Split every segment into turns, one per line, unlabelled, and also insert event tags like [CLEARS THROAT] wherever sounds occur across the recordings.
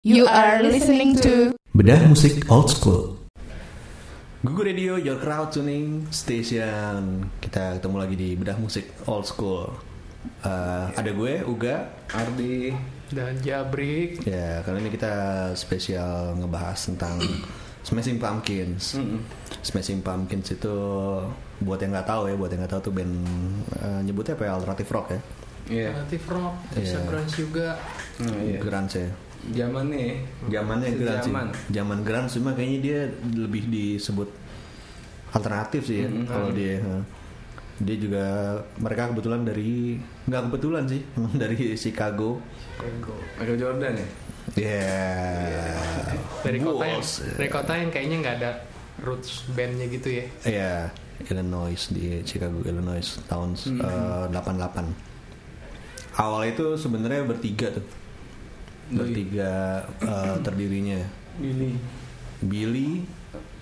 You are listening to
Bedah musik old school.
Gugu Radio, your crowd tuning station. Kita ketemu lagi di bedah musik old school. Eh, ada gue, Uga, Ardi.
dan Jabrik
Ya, kali ini kita spesial ngebahas tentang Smashing Pumpkins. Smashing Pumpkins itu buat yang nggak tahu ya, buat yang nggak tahu tuh band eh, nyebutnya apa ya? Alternative rock ya,
Iya,
relatif rock bisa
Iya.
grunge juga
nah, iya.
grunge ya.
Zaman nih.
Zamannya grunge, sih.
Sejaman.
zaman grunge cuma kayaknya dia lebih disebut alternatif sih ya
Mm-mm.
kalau dia. eh. Dia juga mereka kebetulan dari nggak kebetulan sih [LAUGHS] emang dari Chicago.
Michael Jordan ya.
Yeah.
dari kota ya? yang
Bulls.
iya.
dari kota yang kayaknya nggak ada roots bandnya gitu ya
Iya, Illinois di Chicago, Illinois tahun eh, 88. Awal itu sebenarnya bertiga tuh. Bertiga eh, terdirinya.
Billy
Billy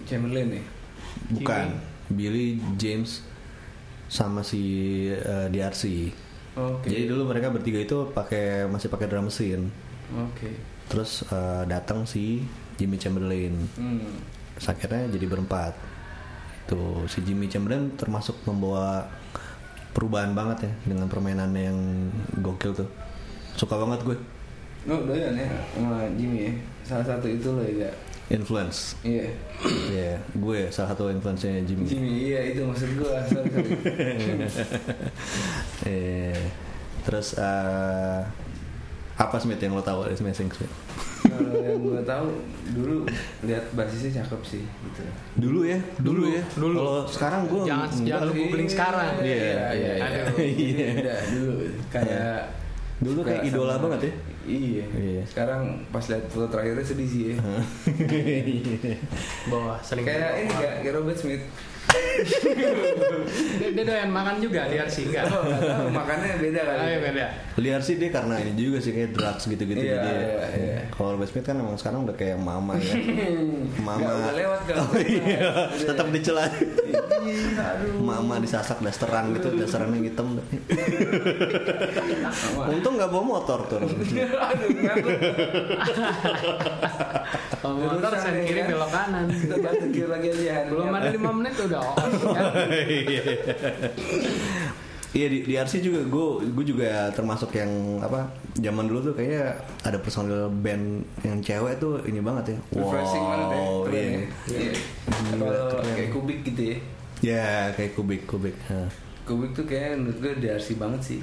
Chamberlain ya.
bukan Billy James sama si eh, DRC.
Oke.
Jadi dulu mereka bertiga itu pakai masih pakai drum mesin.
Oke.
Terus eh, datang si Jimmy Chamberlain.
Hmm.
Terus akhirnya jadi berempat tuh si Jimmy Chamberlain termasuk membawa perubahan banget ya dengan permainannya yang gokil tuh suka banget gue
No, doyan ya sama Jimmy ya. Salah satu itu loh ya.
influence
Iya.
ya gue salah satu influence-nya Jimmy
Jimmy iya itu maksud gua. Sorry,
[LAUGHS]
sorry.
eh terus eh, apa Smith yang lo tahu dari Smashing Smith
Kalau yang gua tahu dulu lihat basisnya cakep sih gitu.
dulu ya dulu, ya
dulu.
kalau sekarang gue
Jangan-
enggak
jangan
lah.
lu googling sekarang.
Iya, iya, iya.
Aduh.
Iya.
Beda dulu kayak
Dulu
suka
kayak idola [LAUGHS]
sama-
banget ya.
Iya.
Iya.
Sekarang pas lihat foto terakhirnya sedih sih ya.
bahwa sering
Kayak ini kayak, kayak Robert Smith. [LAUGHS]
dia, dia doyan makan juga liar sih enggak
Oh, iya. nggak tahu, makannya beda kali.
Ayo ya. beda
liar sih dia karena ini juga sih kayak drugs gitu-gitu
Iya,
jadi eh,
iya, iya.
kalau Robert Smith kan emang sekarang udah kayak mama [LAUGHS] ya mama
Nggak, udah lewat kan.
oh, iya. tetap dicela
Iya, aduh. [LAUGHS]
mama disasak dasteran gitu dasterannya [LAUGHS] hitam untung nggak bawa motor tuh [LAUGHS]
Aduh, ngakut.
kalau motor
Lurus
sen
aja,
kiri
kan?
belok kanan
Kita balik lagi lagi aja. Han.
belum ada lima menit udah oh,
[LAUGHS] iya di, di RC juga gue gue juga termasuk yang apa zaman dulu tuh kayaknya ada personil band yang cewek tuh ini banget ya
Refreshing banget ya.
wow
keren
iya.
ya. Iya.
Gila,
Kalau
keren.
kayak kubik gitu ya.
ya kayak kubik kubik Hah.
Kubik tuh kayak menurut gue DRC banget sih.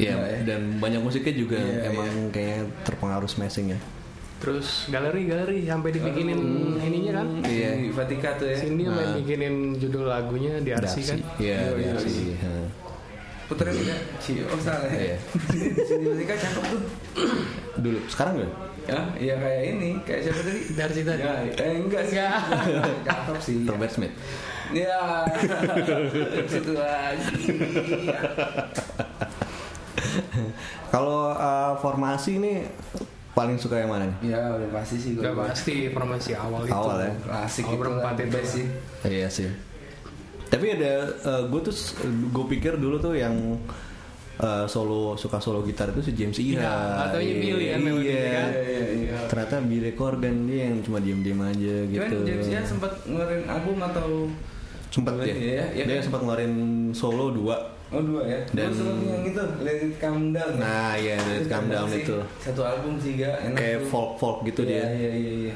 Iya,
Nggak ya?
dan banyak musiknya juga
Iya,
emang kayaknya terpengaruh smashing ya.
terus galeri galeri sampai dibikinin ininya kan
Iya. Di Vatika tuh ya.
Cindy sampai bikinin judul lagunya di RC kan
Iya,
Iya, iya,
Darcy.
iya.
Ha.
Putra kita. Ci, oh salah
Iya.
[LAUGHS] ya. Cindy Vatika cakep tuh.
Dulu, sekarang nggak?
Ya, iya kayak ini, kayak siapa tadi?
DRC tadi.
Ya, eh, enggak sih.
Enggak.
[LAUGHS] Cakep sih.
Robert Smith. [LAUGHS]
Ya, [LAUGHS] situ lagi.
Kalau uh, formasi ini paling suka yang mana nih?
Ya udah pasti sih gue.
udah pasti formasi awal itu
Awal ya.
Klasik itu
Kalau
lah,
berempat
the
itu.
best gitu. sih.
Iya sih. Tapi ada gue tuh gue pikir dulu tuh yang uh, solo suka solo gitar itu si James Iha.
Iya, katanya
Iya,
Billy kan memang
Iya.
Billy kan.
Iya, iya.
Ternyata Billy Corgan dia yang cuma diem-diem aja
Cuman
gitu.
James Ian sempat ngeluarin album atau
sempat ya,
Iya, iya, iya
dia
kan?
sempat ngeluarin solo dua
oh dua ya?
Dan-
Gua suka yang itu Let It Calm Down. ya?
Nah, iya, Let It Calm Down
sih.
itu.
Satu album sih gak enak.
kayak
tuh.
folk folk gitu
Iya,
dia
Iya iya iya.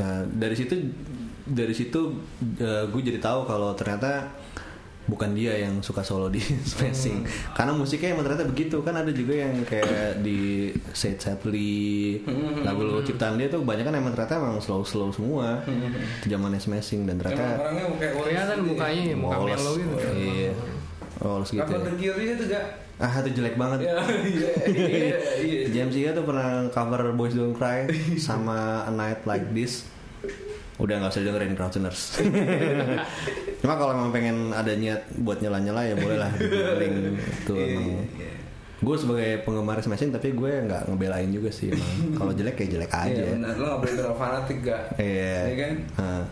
Nah, dari situ dari situ gue jadi tahu kalau ternyata bukan dia yang suka solo di [LAUGHS] smashing
Hmm.
karena musiknya emang ternyata begitu kan ada juga yang kayak di Seth Sadly
Hmm.
lagu lagu ciptaan dia tuh kebanyakan emang ternyata emang slow slow semua
Hmm.
zamannya smashing dan
Emang
ternyata
orangnya kayak Wallace
kelihatan
gitu ya.
mukanya ya, muka
Wallace.
melo gitu
iya Wallace gitu
Cover
ya.
terkirinya tuh gak?
ah itu jelek banget
Ya iya
[LAUGHS]
iya iya.
James Iga tuh pernah cover Boys Don't Cry sama A Night Like This. Udah nggak usah dengerin
[LAUGHS]
Crowdtuners. Cuma kalau emang pengen ada niat buat nyela-nyela ya boleh lah. Dengerin itu
Iya,
emang.
iya, iya.
Gue sebagai penggemar smashing tapi gue nggak ngebelain juga sih emang. Kalau jelek ya jelek aja.
Iya benar, lo gak boleh terlalu fanatik gak? [LAUGHS]
Iya.
Iya kan?
Hah.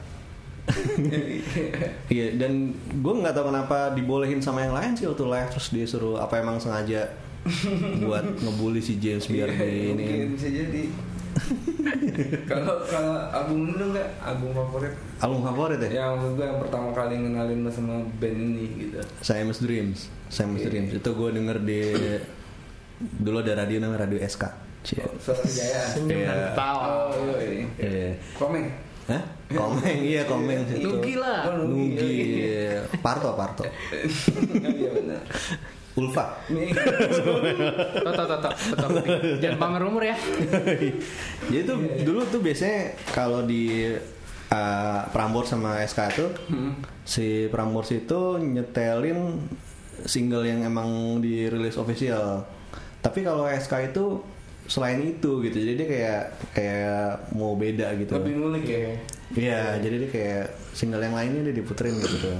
Iya dan gue nggak tahu kenapa dibolehin sama yang lain sih waktu live terus dia suruh apa emang sengaja buat ngebully si James biar
Iya,
di ini [LAUGHS]
Mungkin bisa jadi Kalau kalau album lu nggak album favorit?
Album favorit ya?
Yang maksud gue yang pertama kali ngenalin lo sama band ini gitu.
Siamese Dreams. Siamese
Oke.
Dreams itu gue denger di dulu ada radio namanya Radio SK. Cie.
Suara Jaya.
Senyum dan
Iya.
ketawa.
Oh iya. iya.
Iya.
Komeng.
Hah? Komeng, iya komeng
Iya.
situ.
Nugi lah.
Oh, Nugi.
Nugi. Parto, Parto.
[LAUGHS] Iya benar.
Ulfa. [LAUGHS]
Nih.
Tuh, tuh, tuh, tuh, tuh, tuh. Jangan pamer umur ya.
Jadi tuh dulu tuh biasanya kalau di uh, Prambors sama SK tuh si Prambors itu nyetelin single yang emang dirilis official. Tapi kalau SK itu selain itu gitu. Jadi dia kayak kayak mau beda gitu.
Lebih ngulik ya.
Iya, jadi dia kayak single yang lainnya dia diputerin gitu.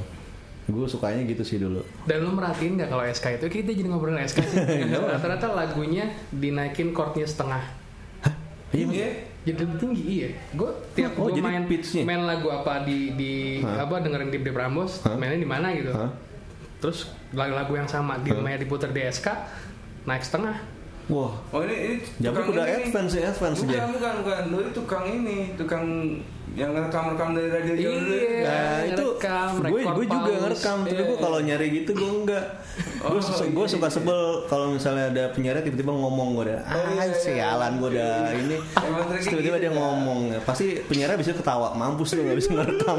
Gue sukanya gitu sih dulu.
Dan lu merhatiin nggak kalau SK itu kita jadi ngobrolin SK
[LAUGHS]
sih.
Iya.
Rata-rata lagunya dinaikin chordnya setengah.
Iya.
Jadi lebih tinggi iya. Gue tiap
Oh,
gua
jadi
main
pitch-nya?
main lagu apa di di
Hah?
apa dengerin di di Prambos,
Hah?
mainnya di mana gitu.
Hah?
Terus lagu-lagu yang sama di
Hah?
main diputer di SK naik setengah.
Wah,
Oh ini, ini
Jabrik
tukang
udah
ini nih.
advance ya, advance
bukan,
aja.
Bukan, bukan, Lu itu tukang ini, tukang yang rekam-rekam dari radio zaman dulu.
Iya.
Eh,
Nah, itu
ngerekam,
gue
record
gue juga
pause.
ngerekam, tapi
Iya.
gue kalau nyari gitu gue enggak. gue
Oh,
su-
iya,
gue
iya,
suka
iya.
sebel kalau misalnya ada penyiar tiba-tiba ngomong gue udah
Oh, iya,
ah
iya,
sialan gue udah ini
Emang
Terus
triknya
tiba-tiba
gitu,
dia
ya.
ngomong pasti penyiar bisa ketawa mampus lu nggak bisa ngerekam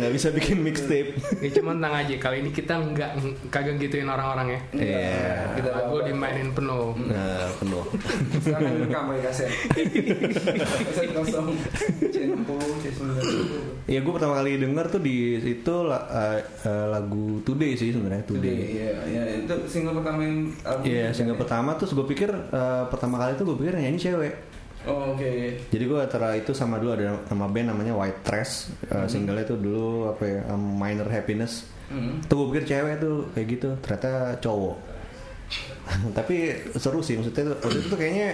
nggak bisa bikin mixtape
Ya cuman tenang aja kali ini kita nggak kagak gituin orang-orang ya.
Iya.
Kita
Lagu dimainin penuh.
nah penuh
Sekarang rekam pakai kaset. Kaset kosong. C60, C90.
ya gue pertama kali denger tuh di itu la- eh, eh, lagu Today sih sebenarnya
Itu dia,
Today
Iya, iya, itu single pertama yang album. kan?
Iya, single pertama terus gue pikir eh, pertama kali tuh gue pikir yang nyanyi cewek.
Oh, oke.
Jadi gue antara itu sama dulu ada nama band namanya White Trash, Eh, singlenya tuh dulu apa ya um, Minor Happiness.
Hmm.
Tuh gue pikir cewek tuh kayak gitu, ternyata cowok. [LAUGHS] Tapi seru sih maksudnya tuh, waktu itu tuh kayaknya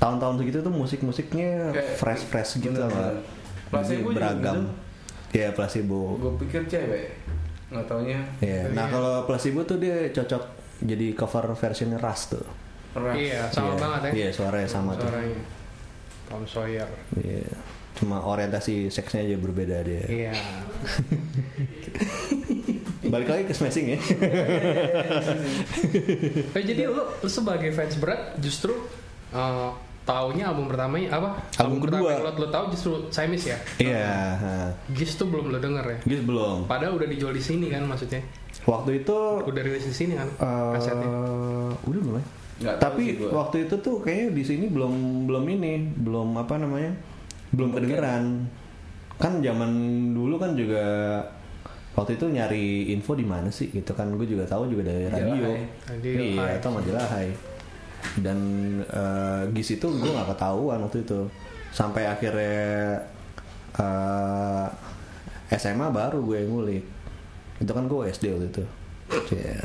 tahun-tahun segitu tuh musik-musiknya
Kayak-
fresh-fresh gitu
bener,
lah.
bener. Placebo
Jadi
juga
beragam.
gitu.
Iya, placebo.
Gue pikir cewek. Nggak taunya.
Iya. Nah, kalau placebo tuh dia cocok jadi cover versionnya Ras tuh.
Ras.
Iya,
Iya.
sama banget ya.
Iya, suaranya sama tuh.
Suaranya. Tom Sawyer.
Iya. Cuma orientasi seksnya aja berbeda dia.
Iya.
Balik lagi ke smashing ya.
Eh, jadi lu, lu sebagai fans berat justru eh, taunya album pertamanya apa?
Album kedua.
pertama yang Lu, lu tahu justru Siamese ya.
Iya. ha.
Gis tuh belum lu denger ya.
Gitu belum.
Padahal udah dijual di sini kan maksudnya.
Waktu itu
Udah rilis di sini kan
eh,
kasetnya.
udah belum ya?
Nggak tahu
Tapi
sih gua.
waktu itu tuh kayaknya di sini belum belum ini, belum apa namanya? Belum kedengeran. Kan zaman dulu kan juga waktu itu nyari info di mana sih gitu kan gue juga tahu juga dari
Majalah
radio.
Hai.
Radio
iya,
Hai.
atau majalah Hai. Dan eh, Gis itu gue nggak ketahuan waktu itu. Sampai akhirnya eh, SMA baru gue ngulik. Itu kan gue SD waktu itu. Iya.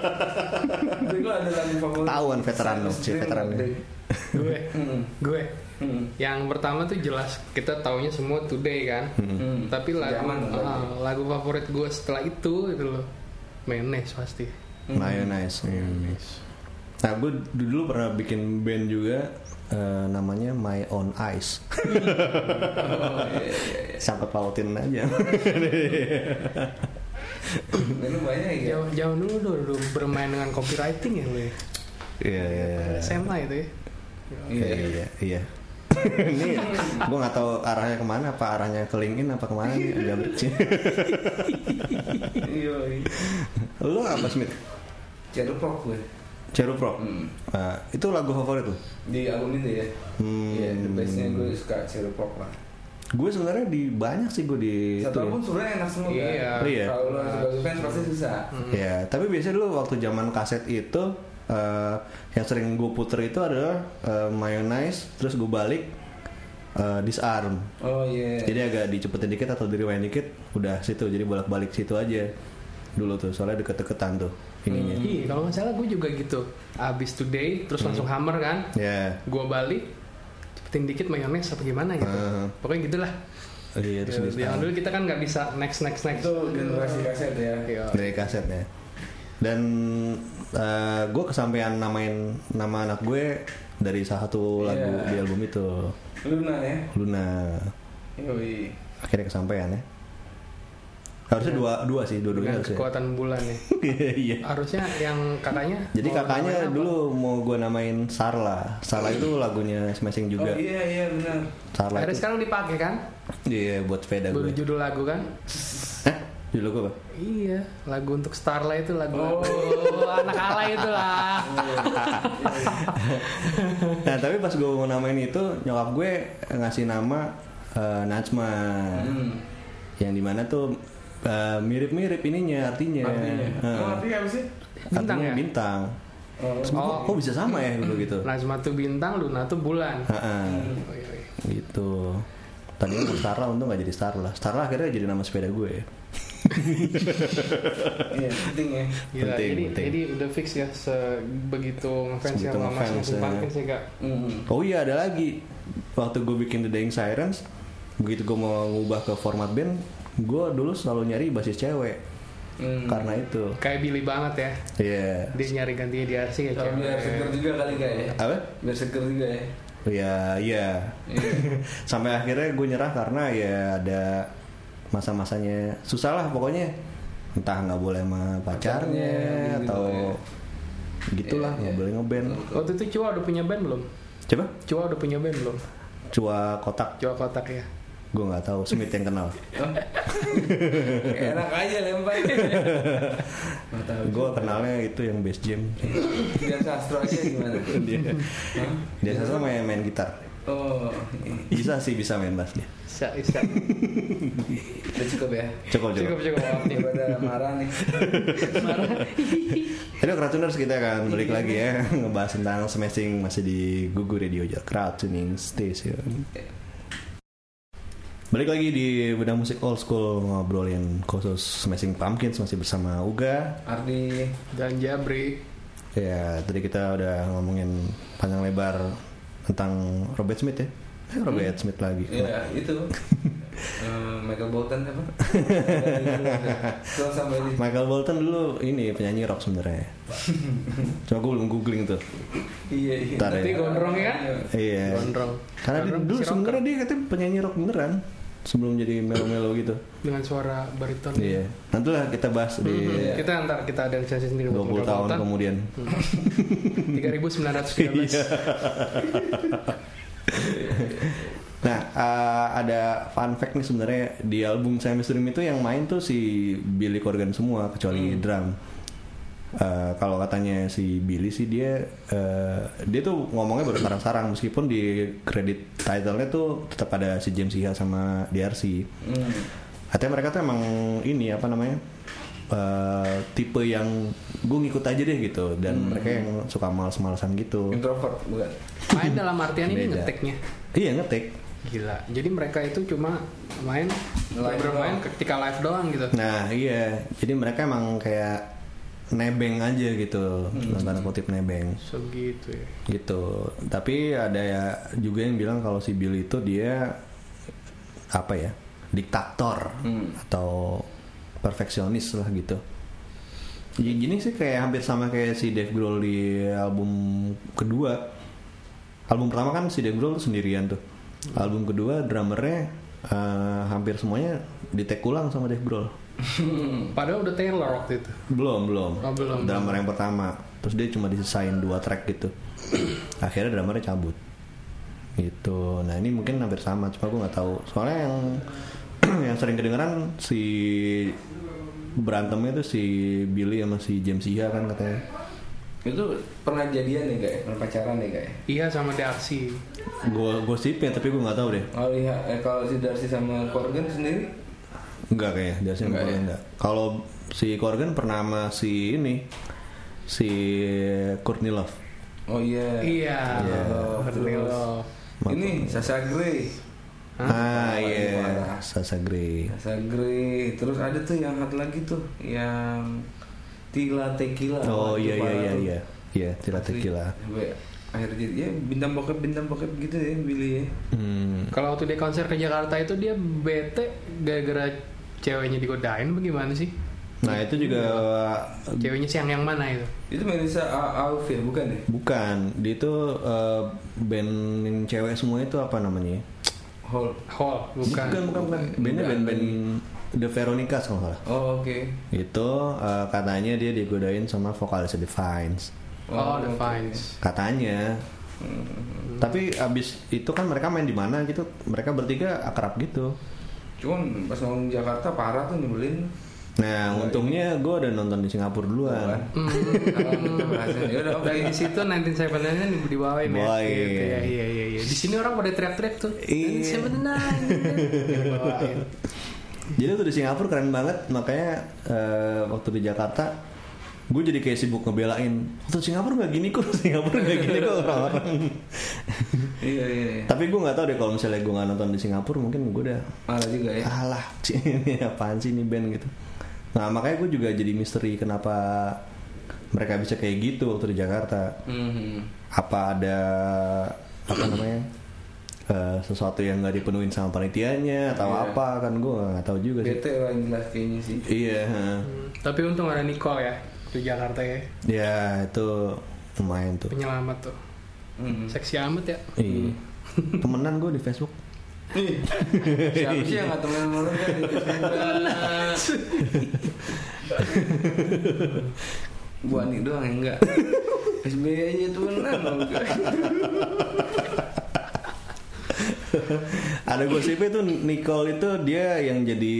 Tapi lu ada lagu favorit.
Ketahuan veteran lu, si veteran lu.
gue
Hmm.
gue
Hmm.
yang pertama tuh jelas kita taunya semua Today kan.
Hmm.
Tapi lagu
Sejaman lah,
ah, lagu favorit gue setelah itu itu loh. Menes pasti.
Mayonnaise. Nah, gue dulu pernah bikin band juga eh, namanya My Own Eyes.
[LAUGHS] Oh, iya, iya.
Sangkut pautin
[LAUGHS]
aja. Iya,
Ini banyak ya.
Jauh, jauh dulu dulu, dulu bermain dengan copywriting ya lu ya.
Iya, iya, iya.
SMA itu ya.
Iya, iya, iya. [LAUGHS] Ini gue nggak tahu arahnya kemana, apa arahnya ke LinkedIn apa kemana nih jabrik sih.
Iya. iya.
[LAUGHS] Lu apa Smith?
Cerupok gue.
Ceru Pro.
Hmm.
Ah, itu lagu favorit lu?
Di album itu ya.
Hmm.
Iya, the bestnya gue suka Cerupok lah.
Gue sebenarnya di banyak sih gue di
Satu
itu ya.
album sebenarnya enak semua. kan?
Iya.
Iya.
Kalau lu sebagai fans pasti susah.
Ya, tapi biasanya dulu waktu zaman kaset itu eh, yang sering gue puter itu adalah eh, mayonnaise, terus gue balik eh, disarm.
Oh iya.
Jadi agak dicepetin dikit atau direwind dikit, udah situ. Jadi bolak-balik situ aja dulu tuh, soalnya deket-deketan tuh ininya.
Iya, kalau nggak salah gue juga gitu. Abis today, terus
Hmm.
langsung hammer kan.
Ya,
Gue balik, cepetin dikit mayones apa gimana gitu.
Heeh.
Pokoknya gitulah.
eh, iya terus
Yang
di-arm.
dulu kita kan nggak bisa next next next.
Itu generasi kaset ya.
Iya.
dari kaset ya. dan eh, gue kesampaian namain nama anak gue dari salah satu lagu
Iya.
di album itu
Luna ya.
Luna
Yoi.
akhirnya kesampaian ya harusnya dua dua sih dua
dengan
duanya harusnya
kekuatan bulan ya.
[LAUGHS] iya
Harusnya yang kakaknya.
jadi
mau
kakaknya
namain apa?
dulu mau gue namain Sarla Sarla itu lagunya Smashing
Oh
juga
iya iya benar.
Sarla
Akhirnya
itu
sekarang dipakai kan?
iya buat sepeda
Baru
gue
judul lagu kan?
Hah? judul
[LAUGHS]
gue apa
Iya, lagu untuk Starla itu lagu
Oh.
anak alay itu lah.
nah tapi pas gue mau namain itu nyokap gue ngasih nama eh, Najma
Hmm.
yang dimana tuh eh, mirip-mirip ininya artinya
Artinya.
Eh,
Oh, artinya apa sih?
Bintang
artinya
ya?
bintang
Oh.
Terus gua,
Oh.
kok bisa sama ya dulu gitu
Najma tuh bintang, Luna tuh bulan. Oh, iya,
Heeh,
Oi, oi.
gitu tadinya mau Starla untung gak jadi Starla Starla akhirnya jadi nama sepeda gue
Iya, penting ya.
Gila,
Penting,
jadi,
penting.
jadi udah fix ya sebegitu ngefans
Sebegitu
sama Mas
ngefans,
Mas
ya.
Marvin sih kak.
Hmm.
Oh iya ada lagi Waktu gue bikin The Dying Sirens Begitu gue mau ngubah ke format band Gue dulu selalu nyari basis cewek
Hmm.
Karena itu
Kayak Billy banget ya.
Iya
Dia nyari gantinya di RC ya.
Oh,
cewek.
biar seger juga kali gak ya?
Apa?
Biar seger juga ya.
Iya iya
Iya.
[LAUGHS] Sampai akhirnya gue nyerah karena ya ada Masa-masanya Susah lah pokoknya Entah nggak boleh sama pacarnya
Pacarnya, gitu
Atau
ya.
Gitulah
Iya,
nggak
iya.
boleh ngeband [LAUGHS]
Waktu itu Cua udah punya band belum?
Coba
Cua udah punya band belum?
Cua kotak
Cua kotak ya.
Gue nggak tahu Smith yang kenal
Oh. Enak aja lempar. Nggak tahu.
Gue kenalnya itu yang bass jam
Dian Sastro aja gimana?
Dia
Hah?
Dia selalu main, main gitar
Oh, iya.
Bisa sih bisa main bass dia.
Isa,
[LAUGHS]
isa.
udah cukup ya.
Cukup
cukup
cukup.
cukup. maaf nih.
Daripada marah nih.
Halo Crowdtuners kita akan balik lagi ya [LAUGHS] ngebahas tentang smashing masih di Gugu Radio Jor Crowdtuning Station. Balik lagi di Bedah Musik Old School ngobrolin khusus Smashing Pumpkins masih bersama Uga.
Ardi,
Dan Jabri.
Ya, tadi kita udah ngomongin panjang lebar tentang Robert Smith ya. Eh, Robert Smith lagi.
ya itu. Eh, Michael Bolton apa? Terus sampai di
Michael Bolton dulu ini penyanyi rock
[LAUGHS]
sebenarnya. Cuma gue belum googling tuh.
Iya, iya.
Ntar ya. Tapi
gondrong ya kan?
Iya.
Gondrong.
Karena dia,
Gondrong
dulu
si rocker.
sebenarnya dia katanya penyanyi rock beneran sebelum jadi melo-melo gitu.
dengan suara bariton.
Iya. Nantilah kita bahas di
Hmm, Kita ntar kita ada lisensi sendiri
20 tahun
Iya.
kemudian.
Tiga ribu sembilan ratus tiga belas.
Iya. Nah, eh, ada fun fact nih sebenarnya di album Siamese Dream itu yang main tuh si Billy Corgan semua kecuali drum. Eh, kalau katanya si Billy sih dia eh, dia tuh ngomongnya baru sarang-sarang meskipun di kredit title-nya tuh tetap ada si James Iha sama DRC.
Hmm.
Katanya mereka tuh emang ini apa namanya eh, tipe yang gue ngikut aja deh gitu dan mereka yang suka males-malesan gitu.
Introvert bukan?
Main dalam artian ini
Beda.
ngeteknya.
Iya ngetik.
Gila. Jadi mereka itu cuma main
Live
bermain
doang.
ketika live doang gitu.
Nah iya, jadi mereka emang kayak nebeng aja gitu, dalam tanda kutip nebeng
Segitu ya.
gitu. Tapi ada ya juga yang bilang kalau si Bill itu dia apa ya, diktator
Hmm.
atau perfeksionis lah gitu. Ya, Gini sih kayak hampir sama kayak si Dave Grohl di album kedua. Album pertama kan si Dave Grohl sendirian tuh. Album kedua drummernya eh, hampir semuanya di-take ulang sama Dave Grohl.
Hmm, Padahal udah Taylor waktu itu.
Belum, belum.
Oh, belum.
Drummer yang pertama. Terus dia cuma disesain dua track gitu. [CLEARS THROAT] Akhirnya drummernya cabut. Gitu. Nah, ini mungkin hampir sama, cuma gue nggak tahu. Soalnya yang [CLEARS THROAT] yang sering kedengeran si berantemnya itu si Billy sama si James Iha kan katanya.
Itu pernah jadian nih kayak, pernah pacaran nih ya? kayak.
Iya sama Darcy.
Hmm. Gue gosipnya tapi gue nggak tahu deh.
Kalau lihat eh, kalau si Darcy sama Corgan sendiri
Enggak kayaknya, biasanya
Enggak
enggak.
ya?
enggak. Kalau si Corgan pernah sama si ini si Courtney Love.
Oh iya.
Iya.
Oh, terus.
Taylor.
Ini Sasa Grey.
Ah,
Apa
iya,
itu ada?
Sasa Grey.
Sasa Grey. Terus ada tuh yang satu lagi tuh yang Tila Tequila.
Oh
Wah, itu
iya iya
parah
iya
tuh.
iya. Iya, tila
Asli.
tequila.
Sampai Akhirnya jadi ya bintang bokep bintang bokep gitu ya Billy ya.
Hmm.
Kalau waktu dia konser ke Jakarta itu dia bete gara-gara ceweknya digodain bagaimana sih?
Nah itu juga
Ceweknya siang yang mana itu?
Itu Melissa A- Auf ya, bukan ya?
bukan, dia itu eh, band yang cewek semua itu apa namanya? ya?
Hall.
Hall, bukan.
bukan, bukan, bukan. Bandnya
Bukan.
band-band The Veronicas kalau nggak salah.
Oh, oke.
Itu eh, katanya dia digodain sama vokalis The Vines.
Oh, The
oke.
Vines.
Katanya. Tapi abis itu kan mereka main di mana gitu? Mereka bertiga akrab gitu.
Cuman pas ngomong Jakarta parah tuh nyebelin.
Nah, untungnya gue udah nonton di Singapura duluan.
Kan? Ya udah oke.
Hmm. Dan di situ 1979 di dibawain ya.
Bawain.
Gitu ya. Iya iya iya. Di sini orang pada teriak-teriak tuh.
Iya.
1979. Dibawain.
Jadi tuh di Singapura keren banget, makanya eh, waktu di Jakarta gue jadi kayak sibuk ngebelain. Waktu Singapura nggak gini kok, [LAUGHS] Singapura nggak gini kok orang-orang.
Iya iya. iya.
Tapi gue nggak tahu deh kalau misalnya gue nggak nonton di Singapura mungkin gue udah "Eh,
Parah juga ya.
alah [LAUGHS] ini apaan sih ini band gitu. Nah makanya gue juga jadi misteri kenapa mereka bisa kayak gitu waktu di Jakarta.
Mhm.
Apa ada apa namanya? eh, sesuatu yang nggak dipenuhin sama panitianya atau
Iya.
apa kan gue nggak tahu juga sih.
Bete lah yang jelas kayaknya sih.
Iya. heeh.
Tapi untung ada Nicole ya di Jakarta ya.
Ya itu lumayan tuh.
Penyelamat tuh.
[LAUGHS]
Mhm.
Seksi amat ya.
Iya. Temenan gue di Facebook.
Siapa sih yang nggak temen orang kan? Gua nih doang yang
[LAUGHS]
enggak. SBY aja temenan. loh.
Ada gosip itu Nicole itu dia yang jadi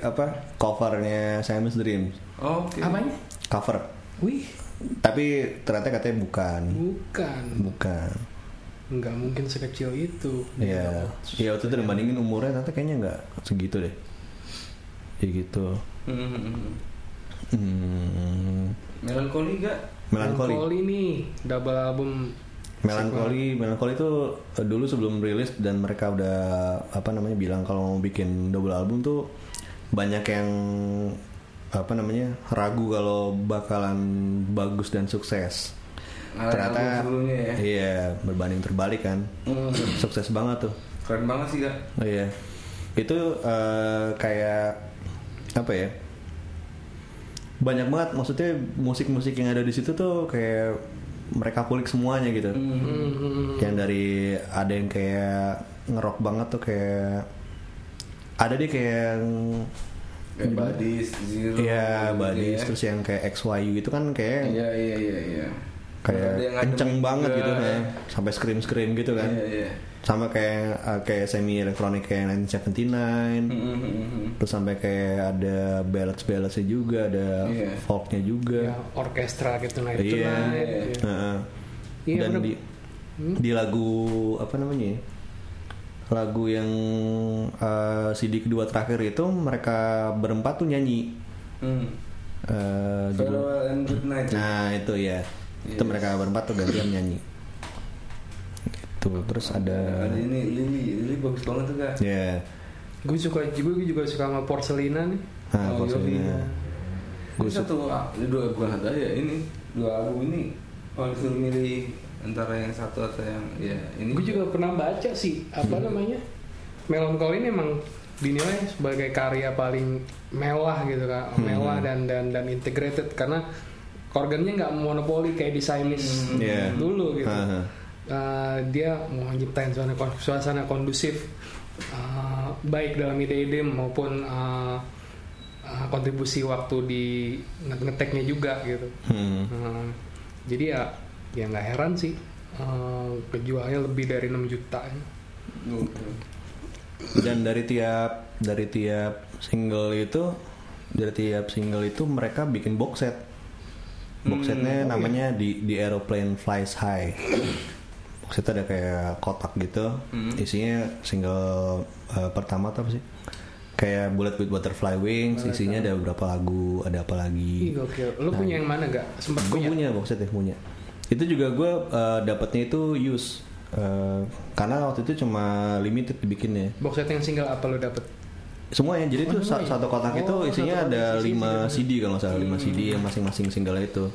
apa covernya Siamese Dream
Oke.
Apanya?
cover.
Wih,
Tapi ternyata katanya bukan,
bukan.
bukan.
Nggak mungkin sekecil itu.
Ya, ya waktu itu dibandingin umurnya ternyata kayaknya nggak segitu deh. Ya gitu.
Mhm.
Hmm.
Melankoli gak?
Melankoli.
Melankoli nih double album
Melankoli, Melankoli itu eh, dulu sebelum rilis dan mereka udah apa namanya bilang kalau mau bikin double album tuh banyak yang apa namanya ragu kalau bakalan bagus dan sukses.
Ngalahin album
Ternyata
sebelumnya ya.
iya berbanding terbalik kan.
Hmm.
sukses banget tuh.
Keren banget sih kak.
Oh, Iya. Itu eh, kayak apa ya? Banyak banget maksudnya musik-musik yang ada di situ tuh kayak mereka kulik semuanya gitu.
Hmm, hmm, hmm.
Yang dari ada yang kayak ngerok banget tuh kayak ada deh kayak yang
Kayak Badis, Zero.
ya
gitu
Hmm. badis
ya.
terus yang kayak XYU itu kan kayak
Iya iya iya iya.
kayak
Ada yang ada
kenceng
juga,
banget gitu
ya.
kayak sampai scream scream gitu kan
Iya iya.
sama kayak eh, kayak semi elektronik kayak 1979
Mhm, mhm, mhm.
terus sampai kayak ada balance balance juga ada
Iya.
folknya juga
ya, orkestra gitu nah itu
Iya.
nah,
Iya.
gitu.
Heeh.
Iya,
dan
bener.
di di lagu apa namanya ya? lagu yang eh, CD kedua terakhir itu mereka berempat tuh nyanyi
Hmm.
Eh, judul-
Farewell and good night.
nah itu ya itu
Yes.
mereka berempat tuh gantian nyanyi itu terus ada
Ada ini Lily, Lily bagus banget tuh kak.
ya
gue suka juga gue juga suka sama porselina nih
nah,
Oh,
maksudnya.
Yofi.
Gua
Ini satu ah, dua bukan satu ya ini dua album ini kalau disuruh milih antara yang satu atau yang ya ini
gue juga pernah baca sih apa
Hmm.
namanya melankoli ini emang dinilai sebagai karya paling mewah gitu kan
Hmm.
mewah dan dan dan integrated karena organnya nggak monopoli kayak di Siamese
Hmm, iya.
dulu gitu
Aha.
Eh, dia mau nyiptain suasana kon- suasana kondusif eh, baik dalam ide-ide maupun eh, eh, kontribusi waktu di nge- ngeteknya juga gitu
Hmm.
Hmm, jadi ya ya nggak heran sih eh, kejualnya lebih dari 6 juta.
gitu.
dan dari tiap dari tiap single itu dari tiap single itu mereka bikin box set box
Hmm,
setnya namanya di di aeroplane flies high box set ada kayak kotak gitu
Hmm.
isinya single eh, pertama tuh apa sih kayak bullet with butterfly wings isinya ada beberapa lagu ada apa
Ih
lagi
gokil. Lu punya yang mana gak? Sempat
gue
punya.
punya box set ya punya itu juga gue eh, dapatnya itu use Eh, karena waktu itu cuma limited dibikinnya
Box set yang single apa lu dapet?
semuanya ya, jadi itu
Oh,
sa-
ya?
iya.
satu kotak
Oh,
itu isinya
satu kotak
ada
isi
5 CD kalau nggak salah
Hmm.
5 CD yang masing-masing single itu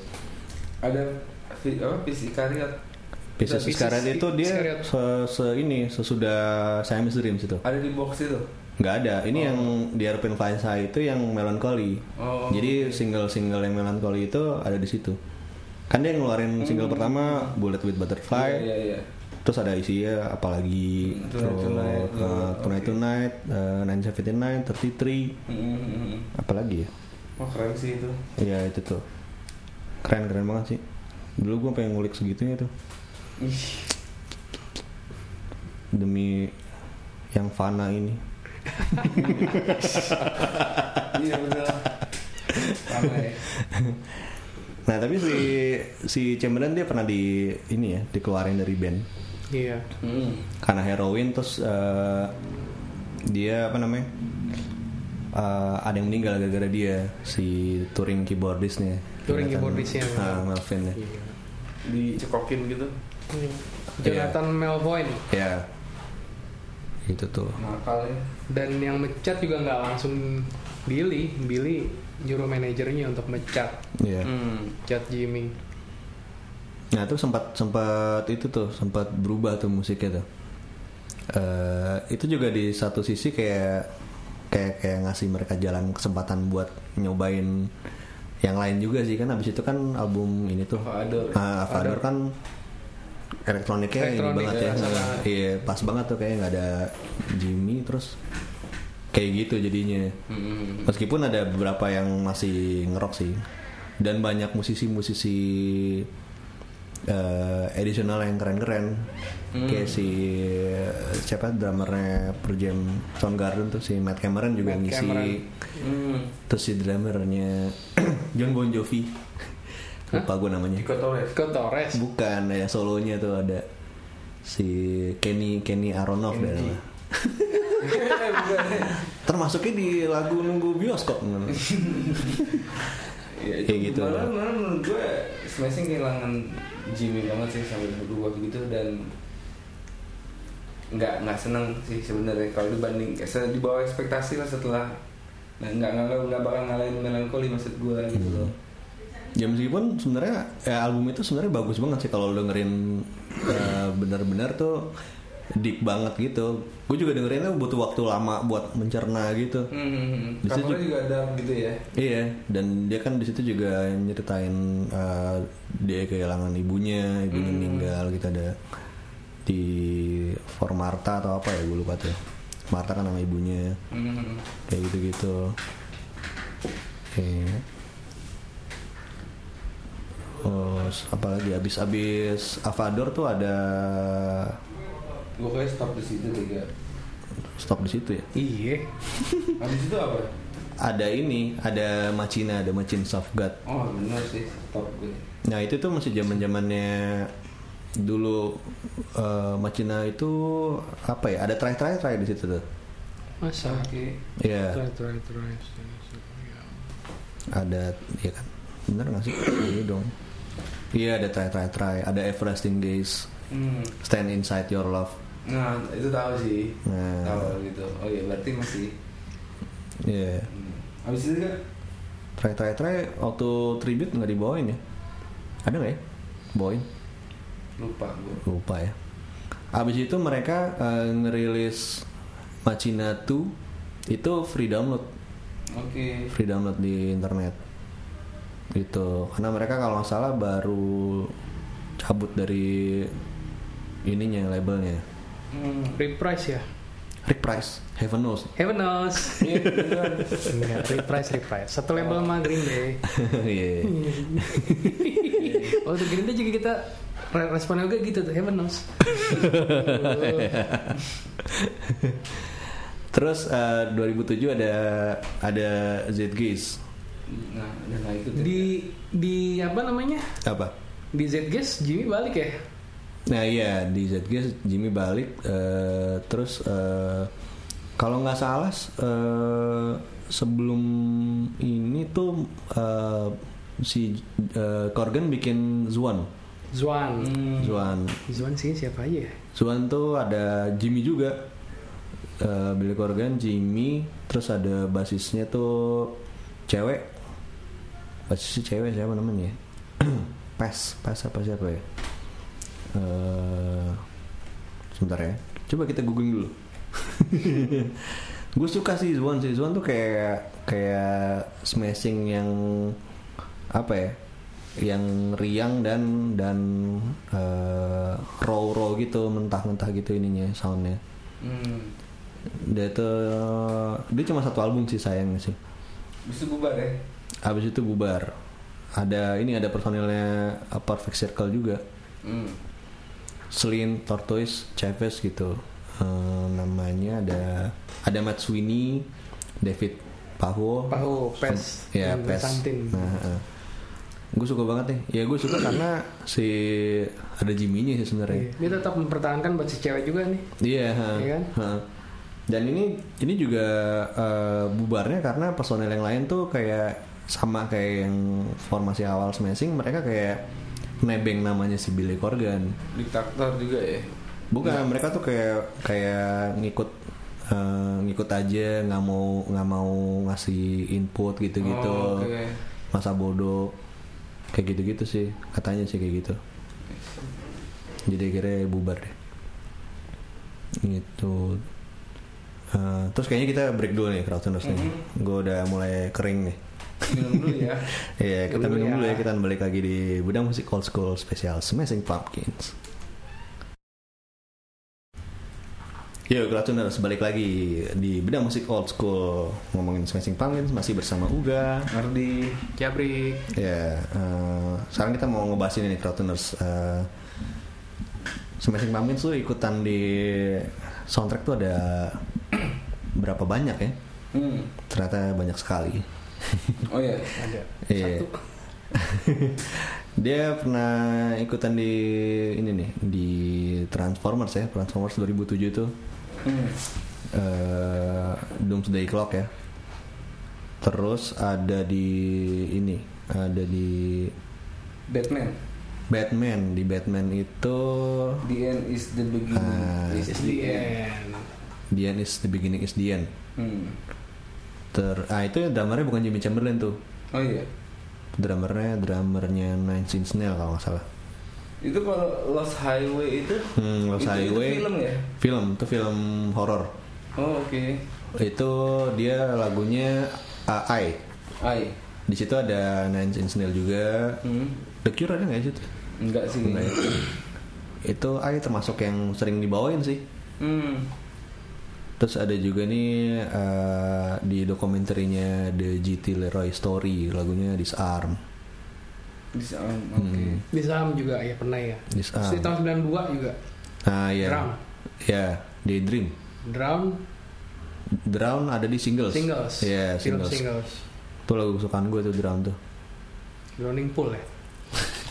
ada fi- apa fisik karya
Pieces
Pieces
Iscariot itu dia
Iscariot.
se, se- ini sesudah Siamese Dreams itu.
Ada di box itu.
Nggak ada. Ini
Oh.
yang di Airplane Flying High itu yang melankoli.
Oh.
Jadi single-single yang melankoli itu ada di situ. Kan dia ngeluarin single pertama Bullet with Butterfly,
Hmm. Iya, iya, iya.
terus ada isinya apalagi
Tonight
terus,
Tonight,
uh, Tonight
oke.
Tonight, uh, 979, 33,
Mm, mm, mm.
apalagi ya?
Wah keren sih itu.
Iya itu tuh. Keren keren banget sih. Dulu gue pengen ngulik segitunya tuh
Ih,
demi yang fana ini.
iya bener. Parah ya.
Nah tapi si si Chamberlain dia pernah di ini ya dikeluarin dari band
Iya.
Mm.
karena heroin terus eh, dia apa namanya Eh, ada yang meninggal gara-gara dia si touring keyboardisnya.
Touring
Jonathan-
keyboardisnya.
Ah, Melvin ya.
Iya.
Dicekokin gitu.
Jonathan Melvoin
Ya. Itu tuh.
Nakal ya.
dan yang mecat juga nggak langsung Billy, Billy nyuruh manajernya untuk mecat,
Iya.
Mm.
mecat Jimmy.
Nah terus sempat sempat itu tuh sempat berubah tuh musiknya tuh. Eh, itu juga di satu sisi kayak kayak kayak ngasih mereka jalan kesempatan buat nyobain yang lain juga sih kan habis itu kan album ini tuh
Avador.
Ah, Avador kan elektroniknya
Elektronik,
ini banget ya,
ya,
Nah, iya pas banget tuh kayak nggak ada Jimmy terus kayak gitu jadinya
Mm, mm, mm.
Meskipun ada beberapa yang masih ngerok sih dan banyak musisi-musisi eh additional yang keren-keren
Hmm.
kayak si eh, siapa drummernya Per Jam Soundgarden tuh si Matt Cameron juga
Matt
ngisi
Cameron.
Mm.
terus si drummernya [CLEARS THROAT] John Bon Jovi lupa gue namanya
Iko Torres.
Ke Torres,
bukan ya solonya tuh ada si Kenny Kenny Aronoff dan
Eh, [LAUGHS] bukan.
termasuknya di lagu nunggu bioskop menurut gue.
Ya,
Kayak gitu.
Malah, malah menurut gue Smashing kehilangan Jimmy banget sih sampai berdua gitu dan nggak nggak seneng sih sebenarnya kalau dibanding eh, se- di bawah ekspektasi lah setelah nah, nggak nggak nggak bakal ngalahin melankoli maksud gue gitu
Hmm.
loh.
Ya meskipun sebenarnya ya, album itu sebenarnya bagus banget sih kalau lo dengerin eh, bener-bener tuh deep banget gitu. Gue juga dengerinnya butuh waktu lama buat mencerna gitu.
Hmm, hmm, hmm.
Di situ
Covernya juga ada gitu ya.
Iya, dan dia kan di situ juga nyeritain eh, dia kehilangan ibunya, ibunya meninggal gitu ada di For Marta atau apa ya gue lupa tuh. Marta kan nama ibunya
Hmm, hmm, hmm.
kayak gitu-gitu. Oke. Terus apalagi abis-abis Avador tuh ada
Gue kayak stop di situ tiga.
stop di situ ya.
iya.
Habis itu [LAUGHS] apa?
Ada ini, ada Machina, ada Machin Soft God.
Oh benar sih stop gue.
Nah itu tuh masih zaman zamannya dulu eh, Machina itu apa ya? Ada try try try di situ tuh.
Masa?
Oke.
Iya,
Torres, Torres, Torres.
ada ya kan. Bener nggak sih? Iya dong. Iya ada try try try, ada Everlasting Gaze,
Hmm.
Stand Inside Your Love.
Nah itu tahu sih.
Nah.
Tahu gitu. Oh iya berarti masih.
Iya.
Hmm. Habis itu kan?
Try try try waktu tribute nggak dibawain ya? Ada nggak ya? Bawain?
lupa gue
Lupa ya. Abis itu mereka eh, ngerilis Machina 2 itu free download,
oke
free download di internet. Gitu. Karena mereka kalau nggak salah baru cabut dari ininya labelnya.
hmm.
Reprise ya?
Rick Price, Heaven Knows. [LAUGHS]
Heaven knows.
Iya, beneran.
Enggak, Iya, reprise, reprise. Satu label sama Green Day.
Iya.
Waktu Oh, Green Day juga kita re- responnya juga gitu tuh, Heaven knows.
Terus eh, 2007 ada ada Zedgees.
nah udah nggak ikut
Di di apa namanya?
Apa?
Di ZGS Jimmy balik ya?
Nah iya di Zedges Jimmy balik eh, terus eh, kalau nggak salah s- eh, sebelum ini tuh eh, si eh, Corgan bikin Zuan
Zwan.
Zuan
Hmm. Zwan sih siapa aja ya?
Zuan tuh ada Jimmy juga Eh, Billy Corgan Jimmy terus ada basisnya tuh cewek [CLEARS THROAT] basisnya cewek siapa namanya ya? Pes Pes apa siapa ya eh sebentar ya. Coba kita googling dulu. [LAUGHS] gue suka sih Zwan sih Zwan tuh kayak kayak smashing yang apa ya? Yang riang dan dan row raw raw gitu mentah-mentah gitu ininya soundnya.
hmm.
Dia tuh dia cuma satu album sih sayangnya sih.
Abis itu bubar ya
Habis itu bubar. Ada ini ada personilnya uh, Perfect Circle juga.
hmm.
Selin, Tortoise, Chavez gitu. Eh, namanya ada ada Matt Sweeney, David Paho.
Paho, Oh, Pes,
Ya,
dan
Pes. Nah,
Santin.
gue suka banget nih. Ya gue suka karena si ada Jimmy-nya sih sebenarnya.
Iya. Dia tetap mempertahankan buat si cewek juga nih.
Iya. ha.
Iya kan?
Ha. Dan ini ini juga eh, bubarnya karena personel yang lain tuh kayak sama kayak yang formasi awal smashing mereka kayak nebeng namanya si Billy Corgan.
Diktator juga ya
Bukan mereka tuh kayak kayak ngikut eh, ngikut aja nggak mau nggak mau ngasih input gitu-gitu.
Oh, oke.
Masa bodoh kayak gitu-gitu sih katanya sih kayak gitu. Jadi akhirnya bubar deh. Gitu. Eh, terus kayaknya kita break dulu nih Crowdtuners nih.
Mm-hmm.
Gue udah mulai kering nih.
Minum dulu
[LAUGHS]
ya
Iya, kita
Dulu
minum dulu ya.
ya.
Kita balik lagi di Budang Musik Old School Spesial Smashing Pumpkins. Yo, Kratuners, balik lagi di Bedang Musik Old School Ngomongin Smashing Pumpkins, masih bersama Uga
Ngerti
Jabrik.
Ya, eh, sekarang kita mau ngebahas ini nih Kratuners Eh, Smashing Pumpkins tuh ikutan di soundtrack tuh ada [CLEARS THROAT] berapa banyak ya?
hmm.
Ternyata banyak sekali
Oh iya
Ada.
Iya. [LAUGHS] Dia pernah ikutan di ini nih di Transformers ya, Transformers 2007 itu
hmm.
eh Doomsday Clock ya. Terus ada di ini, ada di
Batman
Batman, di Batman itu
The end is the beginning
Ah.
is
It's the end.
The End is the Beginning is the End.
Hmm.
Ter ah itu drummernya bukan Jimmy Chamberlain tuh.
Oh iya
Drummernya drummernya Nine Inch Nails kalau nggak salah.
Itu kalau Lost Highway itu
Hmm, Lost
itu,
Highway.
itu film ya?
Film, itu film horor.
Oh oke
itu dia lagunya AI
Ai
di situ ada Nine Inch Nails juga
hmm.
The Cure ada nggak di situ
Enggak sih
Enggak ya. itu AI termasuk yang sering dibawain sih
Hmm.
terus ada juga nih eh, di dokumenterinya The GT Leroy Story lagunya Disarm
Disarm oh, Oke
Hmm.
Di Saham juga ya pernah ya.
Ah.
Terus di
Disarm
tahun 92 juga.
nah
Iya.
ya
Drum.
ya Daydream
Drum,
Drown ada di singles
singles.
ya
Iya,
Film
singles.
singles.
itu lagu kesukaan gue tuh Drown tuh
Drowning Pool ya.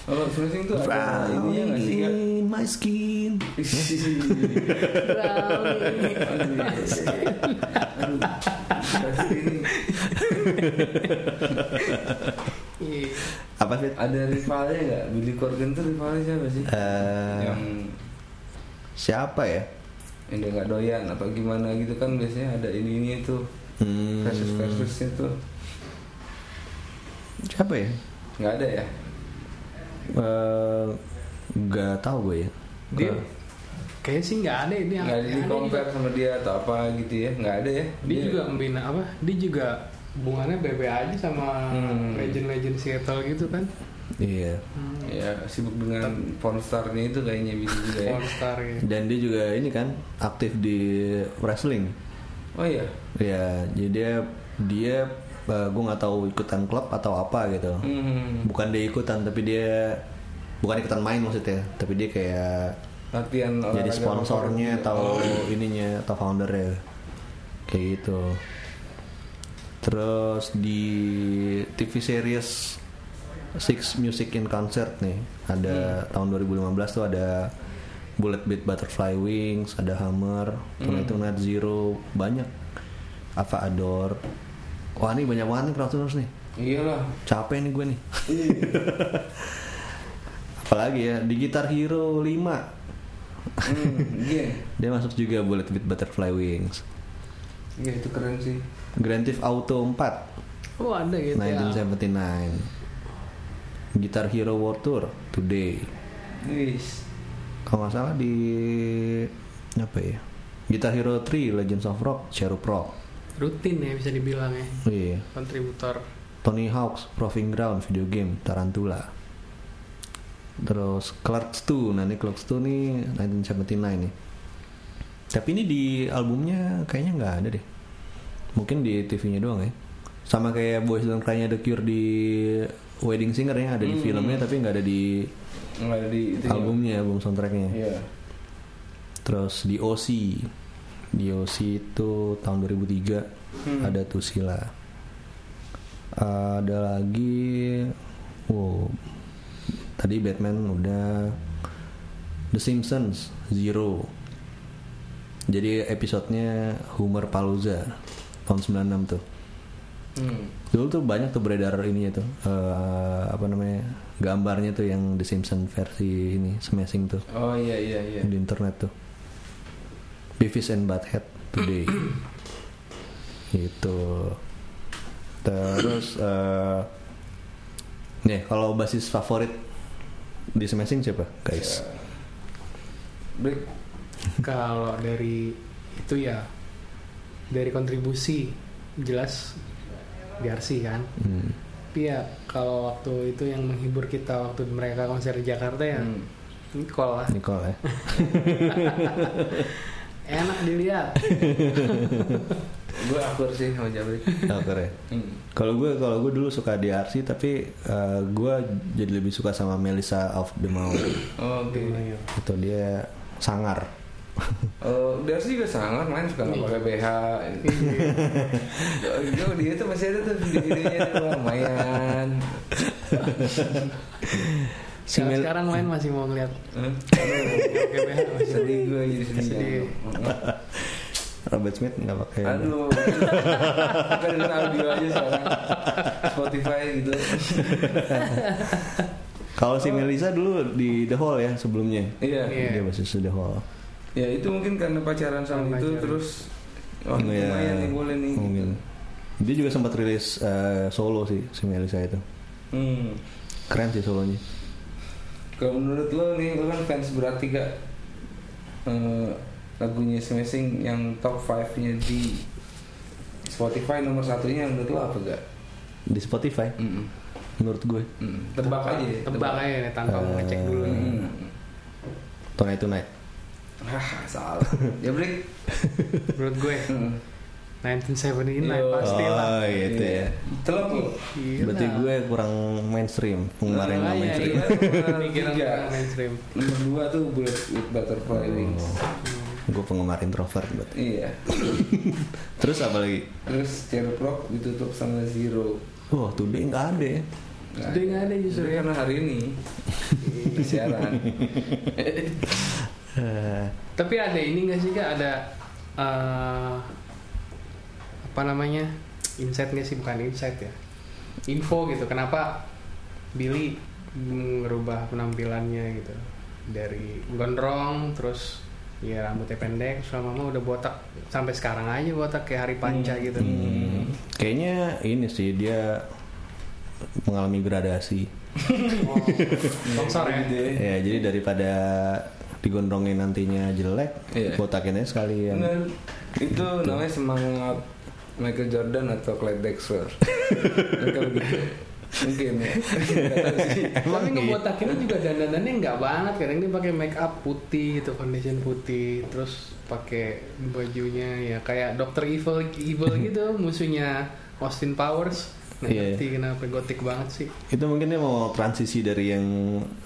Kalau Smashing tuh ada
Drown
ininya nggak sih Kak?
in my skin
Aduh, pasti ini.
[LAUGHS] Iya.
apa sih
Ada rivalnya nggak? Billy Corgan tuh rivalnya siapa sih?
Eh.
Yang
siapa ya
yang dia nggak doyan atau gimana gitu kan biasanya ada ini ini tuh
Hmm,
versus versusnya tuh
siapa ya
nggak ada ya?
Eh, nggak tahu gue ya
Dia kayaknya sih nggak ada ini.
Nggak ada di compare sama dia atau apa gitu ya? Nggak ada ya?
Dia juga membina apa? Dia juga hubungannya BB aja sama
Hmm.
legend-legend Seattle gitu kan.
iya
ya sibuk dengan pornstarnya itu kayaknya bisa juga ya.
Pornstar gitu.
dan dia juga ini kan aktif di wrestling
Oh iya.
ya jadi dia dia eh, gue nggak tahu ikutan klub atau apa gitu
Hmm.
bukan dia ikutan tapi dia bukan ikutan main maksudnya tapi dia kayak
Latihan
jadi
olahraga
sponsornya
favorit.
atau ininya atau foundernya kayak gitu terus di TV series Six Music in Concert nih ada tahun 2015 tuh ada Bullet Beat Butterfly Wings ada Hammer Tonight itu Night Zero banyak Ava Ador wah ini banyak banget nih crowdtuners nih
Iya lah.
capek nih gue nih [LAUGHS] apalagi ya di Gitar Hero 5
Hmm, Iya.
Dia masuk juga Bullet with Butterfly Wings.
Iya itu keren sih.
Grand Theft Auto 4
Oh ada gitu ya.
1979. Guitar Hero World Tour Today.
Wis.
kalau nggak salah di apa ya Guitar Hero 3 Legends of Rock Cherub Rock
rutin ya bisa dibilang ya
iya
kontributor
Tony Hawk's Proving Ground video game Tarantula terus nah, Clerks 2 nanti Clerks 2 nih 1979 nih tapi ini di albumnya kayaknya nggak ada deh mungkin di TV-nya doang ya sama kayak Boys Don't Cry-nya The Cure di Wedding Singer ya ada di
Hmm.
filmnya tapi nggak ada di
nggak ada di itu ya.
albumnya album soundtracknya
Iya.
Terus di OC. Di OC itu tahun 2003
Hmm.
ada Tusila. Ada lagi wow. Tadi Batman udah The Simpsons Zero. Jadi episodenya Humor Palooza tahun 96 tuh.
Hmm.
Dulu tuh banyak tuh beredar ininya tuh eh, apa namanya gambarnya tuh yang The Simpsons versi ini smashing tuh
Oh iya iya iya.
di internet tuh Beavis and Butthead
[CLEARS THROAT]
Today gitu terus eh nih kalau basis favorit di smashing siapa guys
Ya. Break.
kalau dari itu ya dari kontribusi jelas DRC kan
Hmm.
tapi ya kalau waktu itu yang menghibur kita waktu mereka konser di Jakarta ya
Hmm.
Nicole lah
Nicole
[LAUGHS]
ya
enak dilihat
Gue akur sih sama Jabrik.
[LAUGHS]
Oh, keren.
Hmm.
kalau gue kalau gue dulu suka DRC tapi eh, gue jadi lebih suka sama Melissa of the Mount
Oh, Oke.
itu dia sangar [LAUGHS]
Oh, Darcy juga sangar main suka nggak pakai BH.
Iya.
Gue dia tuh masih ada tuh video-videonya tuh, lumayan.
Si
Kalau
Mel-
sekarang lain masih mau ngeliat
Hah?
GBH masih
Hmm. Sedih gue jadi sedih.
Sedih.
Robert Smith nggak pakai
Aduh,
Iya.
kita dengar audio aja sekarang Spotify gitu.
kalau
Oh.
si Melissa dulu di The Hall ya sebelumnya
Iya,
Iya.
Dia masih Oh, sudah hall.
ya itu mungkin karena pacaran sama
Karena
itu
pacaran.
terus oh
Iya,
lumayan nih boleh nih.
mungkin.
Gitu.
Dia juga sempat rilis eh, solo sih si Melisa itu.
Hmm.
Keren sih solonya.
Kalau menurut lo nih, lo kan fans berat tiga Eh, lagunya Smashing yang top 5-nya di Spotify nomor satunya menurut lo apa gak?
Di Spotify
Mm-mm.
menurut gue.
Mm-mm. Hmm, Tebak Hmm. aja deh,
tebak aja nih tanpa
Eh,
ngecek dulu
Mm-mm.
Tonight Tonight.
Hah,
[LAUGHS]
salah. Ya break.
menurut gue
Mm-mm.
1979
Yo.
pasti lah
Oh gitu ya.
Telok Iya. lo.
Gila.
Berarti gue kurang mainstream penggemar yang nggak
Makanya,
mainstream.
iya.
mainstream.
Pikiran
Tiga.
orang mainstream
Nomor dua tuh Bullet with
Oh.
Butterfly Wings.
Gue penggemar introvert berarti.
Iya.
Terus apa lagi?
Terus Cherub Rock ditutup sama Zero.
Wah, today nggak ada ya.
Nah,
Today nggak ada justru
Today
ya.
karena hari ini [LAUGHS] siaran.
Eh,
tapi ada ini nggak sih kak ada eh, apa namanya insight nggak sih bukan insight ya info gitu kenapa Billy merubah penampilannya gitu dari gondrong terus ya rambutnya pendek sama mama udah botak sampai sekarang aja botak kayak hari panca gitu
hmm, kayaknya ini sih dia mengalami gradasi. [LAUGHS]
Oh, boxer ya
Iya.
Ya, jadi daripada digondrongin nantinya jelek,
Iya.
botakin aja sekalian.
Bener. Itu namanya semangat Michael Jordan atau Clyde Drexler. Mereka begitu. Mungkin ya. Nggak tahu sih.
Tapi
gitu.
ngebotakinnya juga dandanannya nggak banget kadang dia pakai make up putih gitu foundation putih terus pakai bajunya ya kayak Dr. Evil Evil
[LAUGHS]
gitu musuhnya Austin Powers nggak
Iya.
ngerti kenapa gotik banget sih
Itu mungkin dia mau transisi dari yang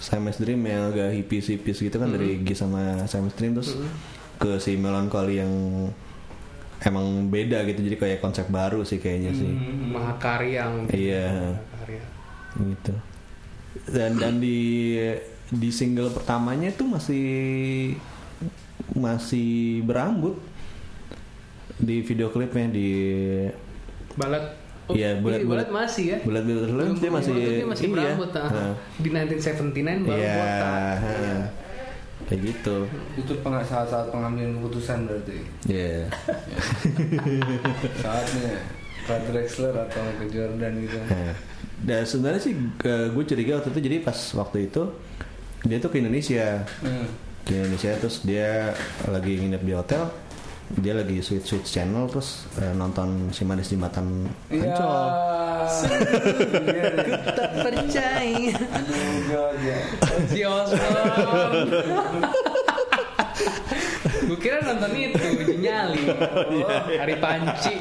Siamese Dream yang agak hippies-hippies gitu kan dari G sama Siamese Dream terus ke si Melancholy yang emang beda gitu jadi kayak konsep baru sih kayaknya sih.
mahakarya mungkin
Iya.
mahakarya
gitu dan dan di di single pertamanya tuh masih masih berambut di video klipnya di
balat
Iya,
bulat
bulat- bulat.
Oh, masih ya
bulat bulat Balloon dia masih
dia masih
iya.
berambut ah.
Nah,
di 1979 baru
iya
botak
heeh. kayak gitu
[LAUGHS] Itu peng- saat-saat pengambilan keputusan berarti.
ya
Saatnya Clyde Drexler atau Michael Jordan gitu.
Nah, [LAUGHS] dan eh, sebenarnya sih gue curiga waktu itu jadi pas waktu itu dia tuh ke Indonesia
Hmm.
di Indonesia terus dia lagi nginep di hotel dia lagi switch switch channel terus eh, nonton si manis jembatan ancol [LAUGHS]
Iya.
Tak percaya.
Aduh, God, ya.
Si Osman. Gue kira nonton itu uji nyali.
Iya.
hari panci.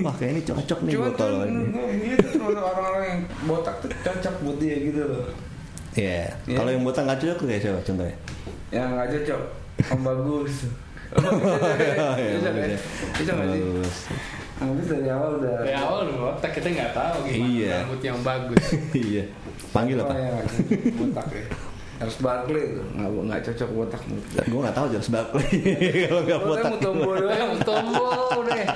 wah kayak ini cocok nih
Cuma
gua
tuh
kalau ini
gue dia tuh termasuk orang-orang yang botak tuh cocok buat dia gitu loh.
Iya.
Iya.
kalau yang botak nggak cocok kayak siapa
[LAUGHS]
contohnya
Yang nggak cocok, om
[LAUGHS]
bagus. Om
Iya, Oh,
bagus, Cocok ya? Cocok nggak sih?
Bagus.
Om bagus dari awal udah.
Dari awal lu otak kita nggak tahu gimana
Iya.
rambut yang bagus.
iya panggil
Oh,
apa
yang nggak cocok, Botak ya. Harus Barkley tuh nggak nggak cocok botak menurut gue.
gue nggak tahu jelas Barkley [LAUGHS] kalau nggak Iya,
Lu
botak
kan Mutombo
[LAUGHS]
doang.
Tombol deh.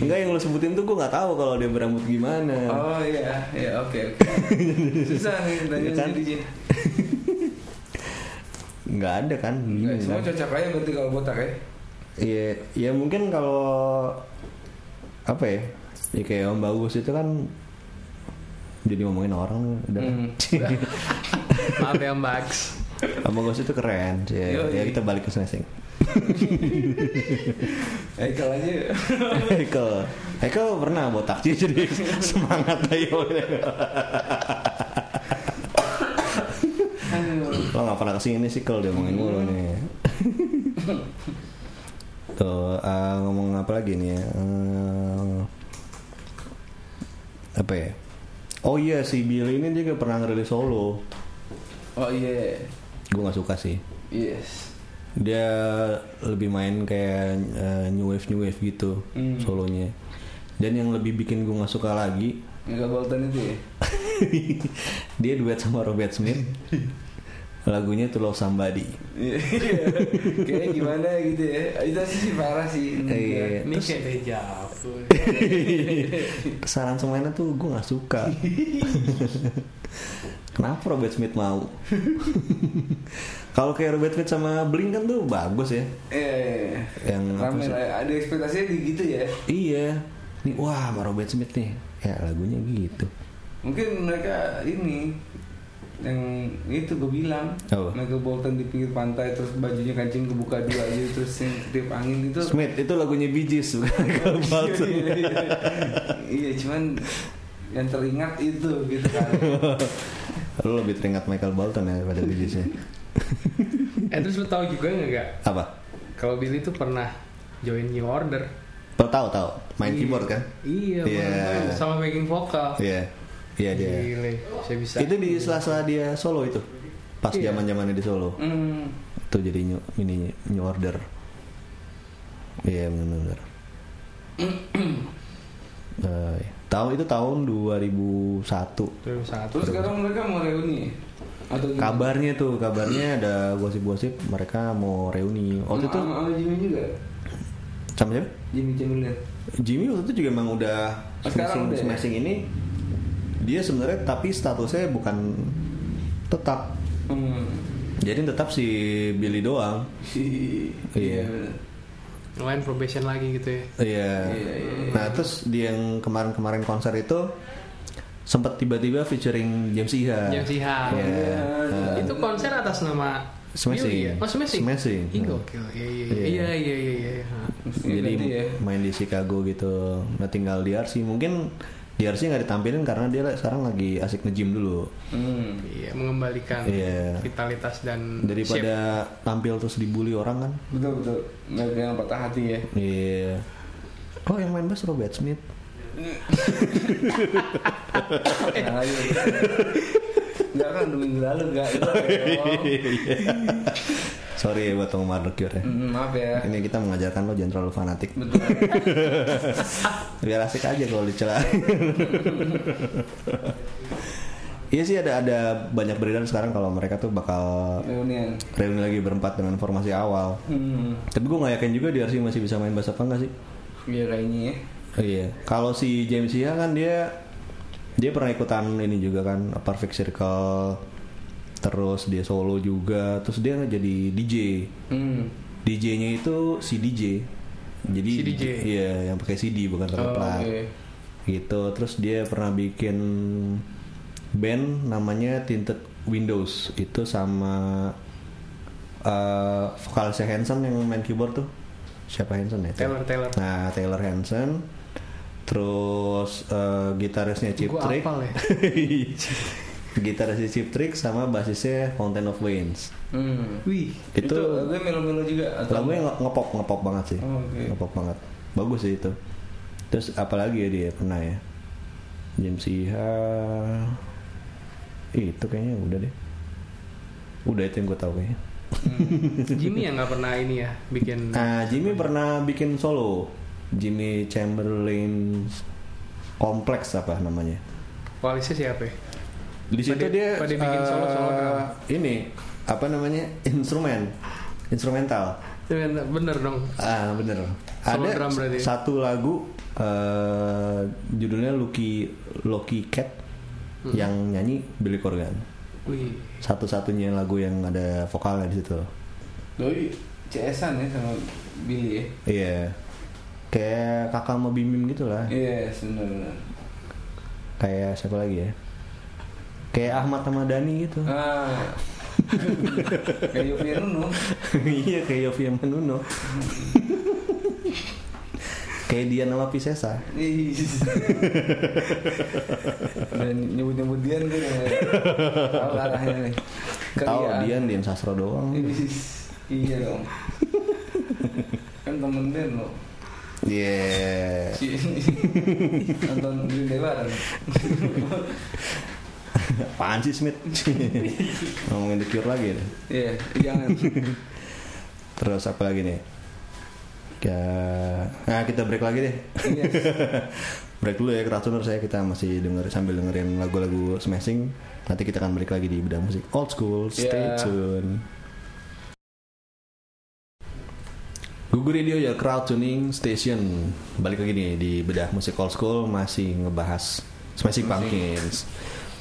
Enggak yang lo sebutin tuh gue nggak tahu kalau dia berambut gimana
Oh iya, iya oke
[LAUGHS]
oke. Susah nih tanya
Iya kan?
jadi
nggak ada kan bingung
Semua
kan?
cocok aja berarti kalau botak ya.
Iya, ya mungkin kalau apa ya? Ya kayak Om Bagus itu kan jadi ngomongin orang udah. kan?
Hmm.
Maaf ya Max.
[LAUGHS] Om Bagus itu keren. Ya,
Yoi.
ya kita balik ke Snesing.
Ekel
Iya,
aja.
Eko, Eko pernah botak sih jadi semangat ayo. Lo nggak pernah kesini sih kalau dia ngomongin mulu nih. Tuh eh, ngomong apa lagi nih ya? Eh, apa ya? Oh iya si Billy ini juga pernah ngerilis solo.
Oh iya.
Gue nggak suka sih.
Yes.
Dia lebih main kayak eh, new wave new wave gitu
Hmm.
solonya. Dan yang lebih bikin gue nggak suka lagi [LAUGHS]
Mega Bolton itu ya.
dia duet sama Robert Smith lagunya To Love Somebody
Iya. Kayaknya gimana gitu ya. Itu sih parah sih.
Iya.
Ini kayak dejavu.
saran semuanya tuh gue nggak
[LAUGHS]
suka kenapa Robert Smith mau [LAUGHS] kalau kayak Robert Smith sama Blink kan tuh bagus ya
Iya. iya.
Yang apa
Rame
sih?
lah. Ada ekspektasinya di gitu ya.
iya nih wah sama Robert Smith nih ya lagunya gitu
Mungkin mereka ini yang itu gue bilang
Apa?
Michael Bolton di pinggir pantai terus bajunya kancing kebuka dua aja terus yang ketiup angin itu
Smith itu lagunya Bee Gees bukan
[LAUGHS]
Michael Bolton.
Iya, iya, iya. Iya, cuman yang teringat itu gitu
[LAUGHS]
kan.
lu lebih teringat Michael Bolton ya daripada Bee Gees
Eh terus lu tahu juga nggak gak?
apa
Kalau Billy tuh pernah join New Order.
Lo tahu tahu main keyboard kan
Iya.
Iya.
bener. Sama backing vokal.
iya iya dia
Gile, saya bisa.
Itu di sela-sela dia solo itu. Pas
Iya.
zaman-zamannya di solo.
Hmm.
Itu jadi new, ini new order. Iya benar-benar. [CLEARS THROAT] Eh, tahu itu tahun 2001.
2001.
Terus sekarang mereka mau reuni ya? atau gimana?
Kabarnya tuh, kabarnya ada gosip-gosip mereka mau reuni. Waktu
Sama-
itu
sama Jimmy juga.
sama siapa?
Jimmy Chamberlain.
Jimmy waktu itu juga emang udah
Oh,
smashing,
sekarang udah ya?
smashing ini dia sebenarnya tapi statusnya bukan tetap.
Hmm.
Jadi tetap si Billy doang.
Si
Iya.
bener.
Lain probation lagi gitu ya.
Iya.
Iya, iya, iya.
Nah terus di yang kemarin-kemarin konser itu sempat tiba-tiba featuring James Iha.
James Iha.
Iya.
Iya.
Nah,
Itu konser atas nama
Smashing.
Billy ya? Oh, Smashing.
Smashing.
Ih, gokil. Iya, iya, iya.
Iya.
Iya, iya, iya, iya.
Mesti
Jadi
ganti ya.
main di Chicago gitu. Nah tinggal di RC mungkin di RC nggak ditampilin karena dia sekarang lagi asik nge-gym dulu.
Hmm.
Iya, mengembalikan
Iya.
vitalitas dan shape.
Daripada tampil terus dibully orang kan.
Betul betul. Mereka yang patah hati
[LAUGHS]
ya.
Iya. Oh yang main bass Robert Smith.
Nah, ayo. Enggak kan dua minggu lalu ya. enggak.
[LAUGHS] Iya. Sorry ya buat penggemar The Cure ya.
Maaf ya.
Ini kita mengajarkan lo jangan terlalu fanatik.
Betul.
biar asik aja kalau dicela iya sih ada ada banyak beredar sekarang kalau mereka tuh bakal
Reunian.
reuni lagi berempat dengan formasi awal
Hmm.
tapi gue nggak yakin juga dia sih masih bisa main bass apa enggak sih
Iya kayaknya ya.
Oh, iya kalau si James Iha kan dia dia pernah ikutan ini juga kan Perfect Circle terus dia solo juga terus dia jadi DJ
Hmm.
DJ-nya itu si DJ jadi
CDJ.
iya yang pakai CD bukan pakai
Oh,
plat
oke.
gitu terus dia pernah bikin band namanya Tinted Windows itu sama eh vokalisnya Hanson yang main keyboard tuh siapa Hanson ya?
Taylor Taylor
Nah Taylor Hanson, terus eh, gitarisnya Chip
Gua
Trick,
apal ya
[LAUGHS] gitarisnya Chip Trick sama basisnya Fountain of Waynes.
Hmm.
wih
Itu,
Itu, lagunya melo-melo juga atau
lagunya nge- ngepop ngepop banget sih,
Oh, oke.
ngepop banget, bagus sih itu. Terus apalagi ya dia pernah ya? James Iha, Ih, itu kayaknya udah deh. Udah itu yang gue tahu kayaknya.
Jimmy yang nggak pernah ini ya bikin
Nah, Jimmy pernah bikin solo. Jimmy Chamberlain kompleks apa namanya?
koalisi siapa ya?
Di situ
Pada-
dia
pada bikin
eh,
solo- solo drum.
ini apa namanya? instrumen. Instrumental.
Bener- bener dong
Ah, bener. Ada
Solo drum berarti.
satu lagu eh, judulnya Lucky Lucky Cat yang nyanyi Billy Corgan.
wih
Satu-satunya lagu yang ada vokalnya di situ.
Doi CS-an ya sama Billy ya.
Iya. Kayak kakak mau bimim gitu lah.
Iya, benar-benar.
kayak siapa lagi ya kayak Ahmad sama Dani gitu
Ah. Kayak Yovie Nuno.
[LAUGHS] iya kayak Yofi sama Nuno kayak Dian sama Pisesa
Ih.
[LAUGHS]
Dan nyebut-nyebut Dian gue ya. Tahu arahnya nih.
tahu
Keriaan.
Dian Dian Sastro doang
Ih, Iya dong. kan temen Ben lo.
yeah
Si nonton Green Day bareng.
apaan sih Smith ngomongin The Cure lagi ya.
Iya, jangan.
terus apa lagi nih ya nah kita break lagi deh
Iya.
[LAUGHS] break dulu ya keratuner saya kita masih denger sambil dengerin lagu-lagu smashing nanti kita akan break lagi di bedah musik old school stay
Yeah.
tune Google Radio ya crowd tuning station balik lagi nih di bedah musik old school masih ngebahas smashing pumpkins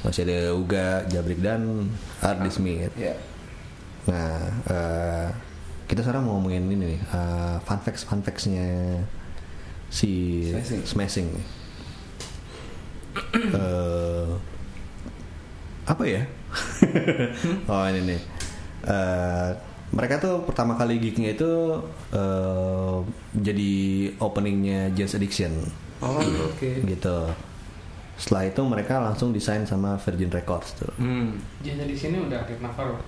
masih ada Uga Jabrik dan Ardi Smith
Iya.
Nah, eh, kita sekarang mau ngomongin ini nih, eh, fun facts fun factsnya si
Smashing.
smashing. nih. Eh, apa ya? [LAUGHS] oh ini nih. Eh, mereka tuh pertama kali gignya itu eh, jadi openingnya Jazz Addiction
Oh, oke.
gitu. Setelah itu mereka langsung desain sama Virgin Records tuh.
Hmm.
jadi di sini udah Dave Navarro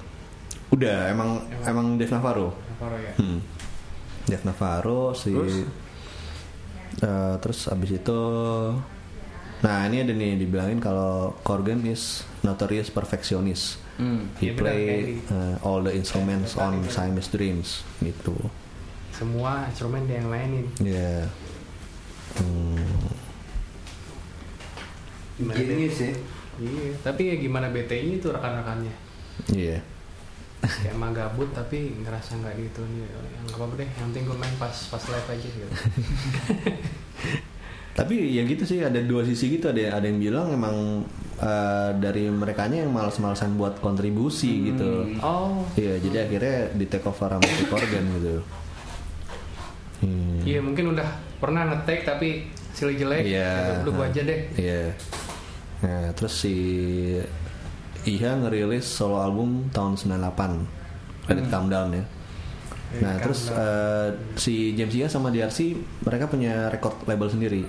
Udah emang emang Dave Navarro.
Navarro ya
Hmm. Jeff Navarro si
Terus?
terus? terus abis itu nah ini ada nih dibilangin kalau Corgan is notorious perfectionist
Hmm.
he
Iya, benar,
play
kayak di-
uh, all the instruments on Simon's dreams gitu
semua instrumen dia yang mainin
ya Hmm,
Gimana, Dave?
Genius ya.
iya tapi ya gimana BTI itu rekan-rekannya
iya
kayak emang gabut tapi ngerasa nggak gitu nih yang apa deh yang penting gue main pas pas live aja
[LAUGHS]
gitu
tapi ya gitu sih ada dua sisi gitu ada ada yang bilang emang uh, dari merekanya yang males-malesan buat kontribusi gitu
Hmm. oh
Iya, jadi akhirnya di take over sama si Corgan gitu. Hmm.
iya mungkin udah pernah ngetek tapi silih jelek
Iya.
ya udah gue aja deh
Iya. Nah, terus si Iha ngerilis solo album tahun 98.
Hmm.
Credit Calm Down ya. Nah,
Calm
terus eh, si James Iha sama DRC mereka punya record label sendiri,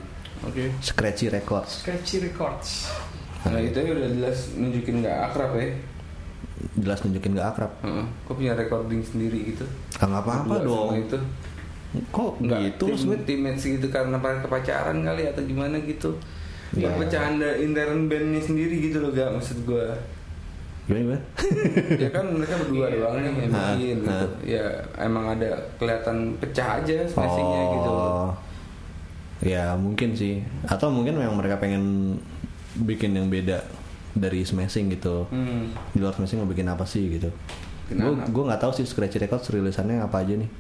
Oke.
Scratchy Records.
Scratchy Records
Nah, itu ya udah jelas nunjukin nggak akrab ya.
Jelas nunjukin gak akrab.
Heeh. Kok punya recording sendiri gitu?
Ah, nggak apa-apa
Berdua
dong.
sama Itu.
Kok
Nggak,
gitu
tim,
lu Smith?
teammates gitu karena mereka pacaran kali atau gimana gitu.
Iya.
Ya. Bercanda intern bandnya sendiri gitu loh gak maksud
[LAUGHS]
gua
Gimana? gimana?
ya kan mereka berdua
Iya, nah.
doang nih yang
Hah,
bikin gitu.
hah.
Ya emang ada kelihatan pecah aja smashingnya gitu loh.
Oh. Ya mungkin sih. Atau mungkin memang mereka pengen bikin yang beda dari smashing gitu.
Hmm.
Di luar smashing mau bikin apa sih gitu. Gue
Kenapa?
gue nggak tahu sih Scratch Records rilisannya apa aja nih.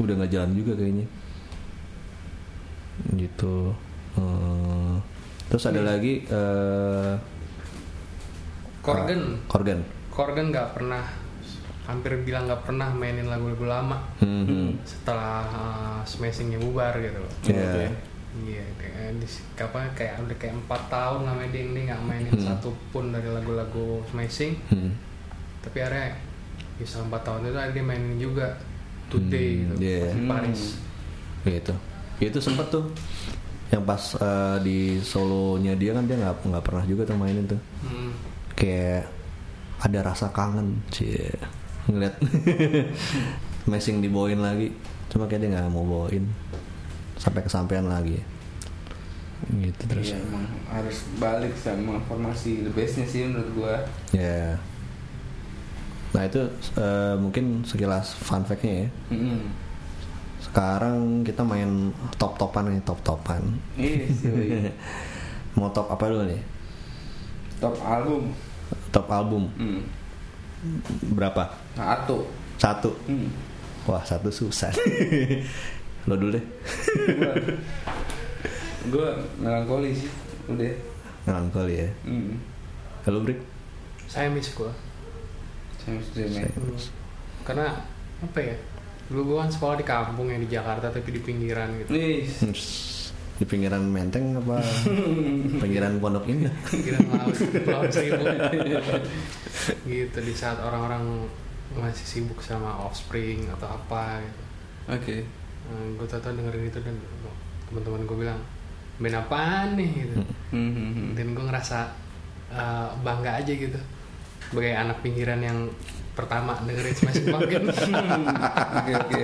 Udah nggak jalan juga kayaknya. Gitu. Eh, terus ada lagi eh
Corgan
Corgan.
Corgan nggak pernah hampir bilang nggak pernah mainin lagu-lagu lama
Hmm, hmm.
setelah uh, smashingnya bubar gitu loh
Ya.
Oke.
Iya, kayak di apa kayak udah kayak empat tahun namanya dia dia nggak mainin
Hmm.
satu pun dari lagu-lagu Smashing.
Hmm.
Tapi akhirnya bisa empat tahun itu akhirnya dia mainin juga Today
Hmm,
gitu,
iya.
pas di Paris.
gitu itu sempet tuh yang pas eh, di solonya dia kan dia nggak nggak pernah juga tuh mainin tuh
Hmm.
kayak ada rasa kangen cie ngeliat [LAUGHS] messing dibawain lagi cuma kayak dia nggak mau bawain sampai kesampaian lagi gitu terus
Iya, emang harus balik sama formasi the base-nya sih menurut gua.
ya nah itu eh, mungkin sekilas fun fact-nya ya
Mm-mm.
sekarang kita main top topan nih top topan
Iya sih.
[LAUGHS]
iya.
[LAUGHS] mau top apa dulu nih
Top album.
top album
Hmm.
berapa
Satu.
satu
Hmm.
wah satu susah [LAUGHS] lo dulu deh
Gua, gua melankoli sih. Udah.
melankoli ya
Hmm.
Halo Brick
Saya miss gua.
Saya sudah main.
Dulu. Karena apa ya? Dulu gua kan sekolah di kampung yang di Jakarta tapi di pinggiran gitu.
Nih.
[LAUGHS] di pinggiran Menteng
[LAUGHS]
apa pinggiran Pondok Indah
Pinggiran laut, laut seribu. gitu di saat orang-orang masih sibuk sama offspring atau apa gitu.
Oke.
gue tau-tau dengerin itu dan teman-teman gue bilang band apaan nih gitu
Hmm, hmm, hmm.
dan gue ngerasa uh, bangga aja gitu sebagai anak pinggiran yang pertama dengerin gitu. Smashing Pumpkins
Hmm, Oke oke.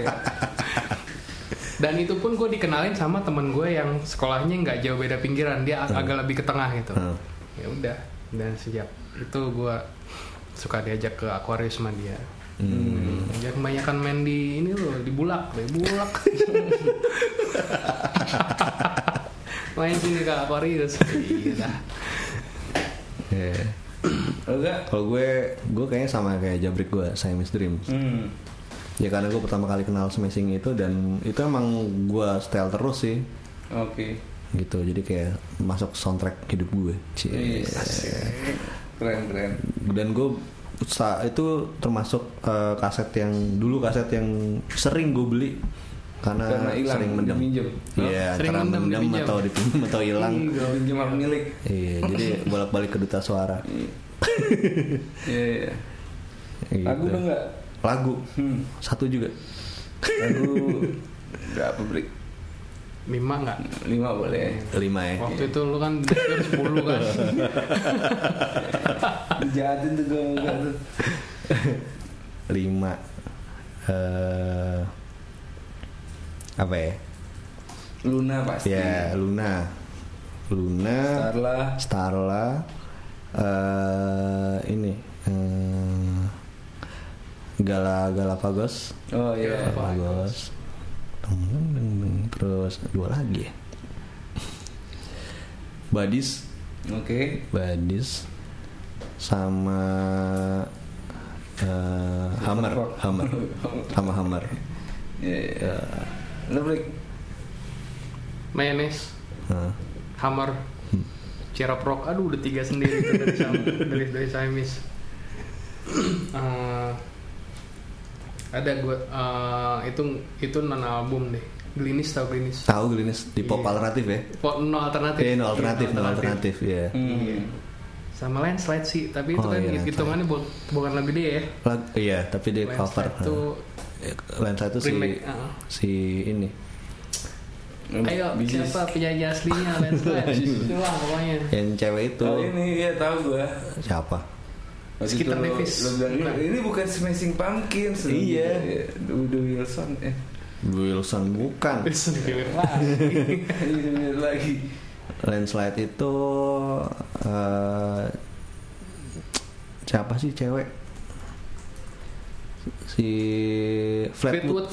dan itu pun gue dikenalin sama temen gue yang sekolahnya nggak jauh beda pinggiran dia ag- agak lebih ke tengah gitu
Hmm.
ya udah dan sejak itu gue suka diajak ke akuarium sama dia
Hmm.
dia kebanyakan main di ini loh di bulak di bulak main sini ke akuarius iya dah.
Iya.
Lo gak?
kalau gue gue kayaknya sama kayak Jabrik gue saya Miss Dream
Hmm.
ya karena gue pertama kali kenal smashing itu dan itu emang gue style terus sih
Oke.
gitu jadi kayak masuk soundtrack hidup gue Cie.
Wih, asik. Keren keren.
dan gue sa- itu termasuk eh, kaset yang dulu kaset yang sering gue beli karena,
Karena hilang,
sering mendem
diminjem.
iya
Sering
karena
mendem,
mendem
dipinjam.
atau dipinjam [LAUGHS] atau hilang
Hmm, Gua Pinjam hak milik.
iya jadi bolak balik ke duta suara
Iya iya.
gitu.
Lagu udah nggak?
lagu
Hmm.
satu juga
Lagu berapa break?
Mima nggak
Lima boleh.
lima ya
Oh.
waktu itu lu kan daftar 10 kan
Jahatin tuh gue enggak tuh.
lima eh apa ya
Luna pasti.
ya Luna Luna
Starla.
Starla eh ini eh, Gala Galapagos
Oh iya.
Galapagos Deng, deng, deng, deng. terus dua lagi ya Badis
Oke.
Badis sama eh, Hammer Hammer sama Hammer
Iya iya. Lo break.
Mayonnaise
Nah,
Hammer Cerap Rock aduh udah tiga sendiri itu dari Sam- dari dari Siamese Eh, ada gue eh, itu itu non album deh Glinis tau Glinis
tahu Gelinis di pop
Iya.
alternatif ya
Po- no alternatif
Eh, no alternatif,
Iya,
no alternatif, ya.
Hmm.
sama landslide sih tapi itu
Oh,
kan
iya,
hitungannya bu- bukan lagu dia ya
Lag- iya, tapi di cover.
landslide itu
Lensa itu si
remake uh-uh.
si ini.
ayo
Bisnis.
siapa penyanyi aslinya
[LAUGHS]
landslide itulah pokoknya
Yang cewek itu
Oh ini ya tahu gua.
siapa?
Waktu itu
Skeeter
lo-
Davis.
lo bilang,
Bukan.
Nah, ini bukan Smashing Pumpkins. lo
Iya.
bilang, iya. Udo Wilson. [LAUGHS] Eh,
Wilson bukan.
Wilson Philip lagi
ini bener lagi.
Landslide itu eh, siapa sih cewek? Si
Fleetwood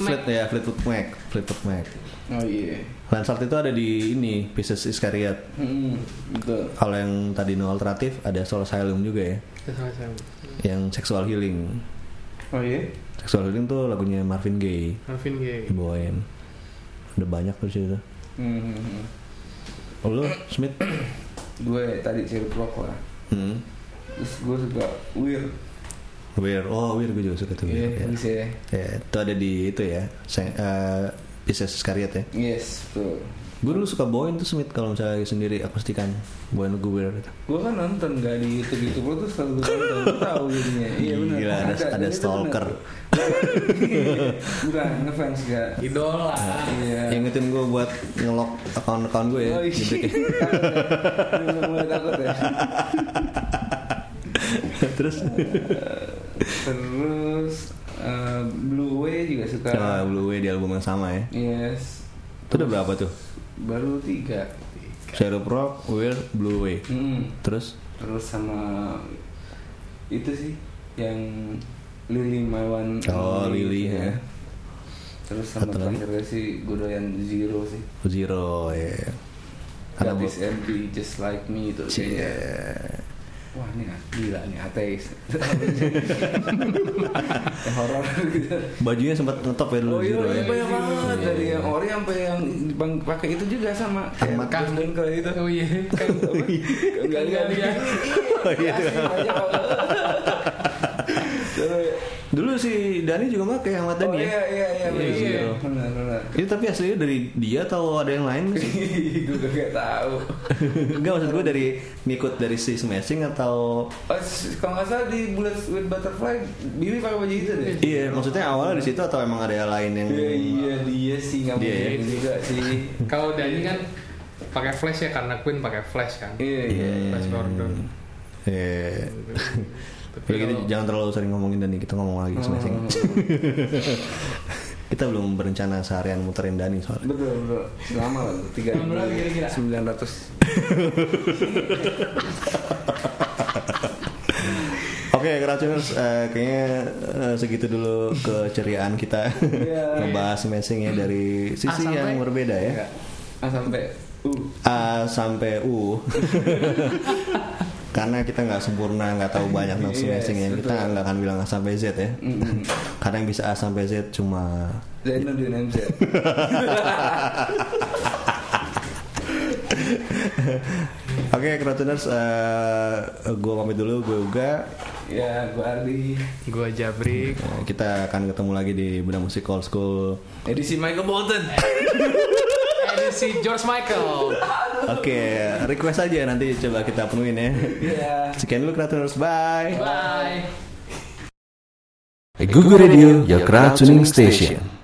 Fleetwood,
Mac.
Fleet- ya Fleetwood Mac, Fleetwood Mac.
Oh iya.
Landslide itu ada di ini Pieces Iscariot.
Hmm, betul.
Kalau yang tadi no alternatif ada Soul Asylum juga ya,
sama-sama
yang Sexual Healing.
Oh iya.
Sexual Healing tuh lagunya Marvin Gaye
Marvin Gaye
dibawain. Udah banyak tuh situ.
Hmm.
Oh, lu Smith.
Gue tadi cari rock lah.
Hmm.
Terus gue suka weird.
Weird. Oh, Weird gue juga suka tuh. Weird,
Iya,
ya.
bisa ya.
Ya, itu ada di itu ya. Se- eh, Pisces Iscariot ya
Yes, betul.
Gue dulu suka bawain tuh Smith kalau misalnya lagi sendiri akustikan bawain lagu weird gitu.
Gue kan nonton gak di YouTube YouTube lo tuh selalu gue nonton, gue tahu jadinya. Iya benar. Iya.
Gila, ada- ada
ternyata [LAUGHS]
stalker.
bener. Bukan ngefans gak.
idola
Iya.
Yang ngetin gue buat ngelok akun-akun gue ya.
Oh, iya.
gitu.
[LAUGHS] Takut ya. Mulai takut ya.
Terus
Terus eh, Blue Way juga suka.
nah, Blue Way di album yang sama ya.
Yes.
Itu udah berapa tuh?
Baru tiga.
Cherub Rock, Weird, Blue Way.
Hmm.
Terus
Terus sama itu sih yang Lily My One. and
Oh,
Only
Lily,
gitu
ya.
Terus sama
Satu lagi?
terakhirnya sih gue doyan Zero sih.
Zero ya. Ada bu-
God is empty just like me itu
Cie.
kayaknya. Wah ini gila nih
[LAUGHS]
ateis. [LAUGHS] Horor gitu.
Bajunya sempat ngetop ya dulu
Oh iya,
Zero ya.
iya, banyak banget
Iya,
dari
iya.
yang ori sampai yang dipang- pakai itu juga sama.
Hemat.
Kayak Bos Bengkel
Hmm.
itu.
oh iya kan
Enggak enggak
Iya. [LAUGHS]
Iya. Asli, banyak banget.
Dulu si Dani juga make Ahmad Dani
Oh
ya.
iya iya iya bener,
Iya.
iya. Benar benar.
Itu tapi aslinya dari dia atau ada yang
[LAUGHS]
lain sih?
Gue gak tahu.
Enggak maksud gue dari ngikut dari si smashing atau
Oh, s- kalau nggak salah di Bullet with Butterfly, Bibi pakai baju itu deh.
Iya, maksudnya awalnya di situ atau emang ada yang lain yang
Iya iya dia sih nggak
Dia,
mungkin
ya?
juga sih.
kalau Dani kan pakai flash ya karena Queen pakai flash kan
Iya
Iya.
iya.
flash Gordon
Iya.
Tapi
Udah gitu
kalau-
jangan terlalu sering ngomongin Dani, kita ngomong lagi smashing.
Oh.
[LAUGHS] kita belum berencana seharian muterin Dani soalnya.
Betul betul. Lama lah tuh, tiga
Lama lah, kira-kira.
sembilan ratus.
Oke, Keracuners, eh, kayaknya eh, segitu dulu keceriaan kita
Iya.
[LAUGHS] ngebahas smashing ya dari sisi
sampai-
yang berbeda ya.
Ah sampai uh
A sampai U [LAUGHS] karena kita nggak sempurna nggak tahu banyak tentang
Yes,
smashing ya kita
betul.
nggak akan bilang A sampai Z ya karena yang bisa A sampai Z cuma
Zainal di NMZ.
oke Kratoners eh gue pamit dulu gue juga
Ya gue Ardi.
gua Jabrik
Eh, kita akan ketemu lagi di Bunda Musik Old School
Edisi Michael Bolton.
edisi Eh, George Michael
oke request aja nanti coba kita penuhin
[LAUGHS]
ya
Iya.
sekian dulu Kratoners bye
bye
Google Radio, your crowd tuning station.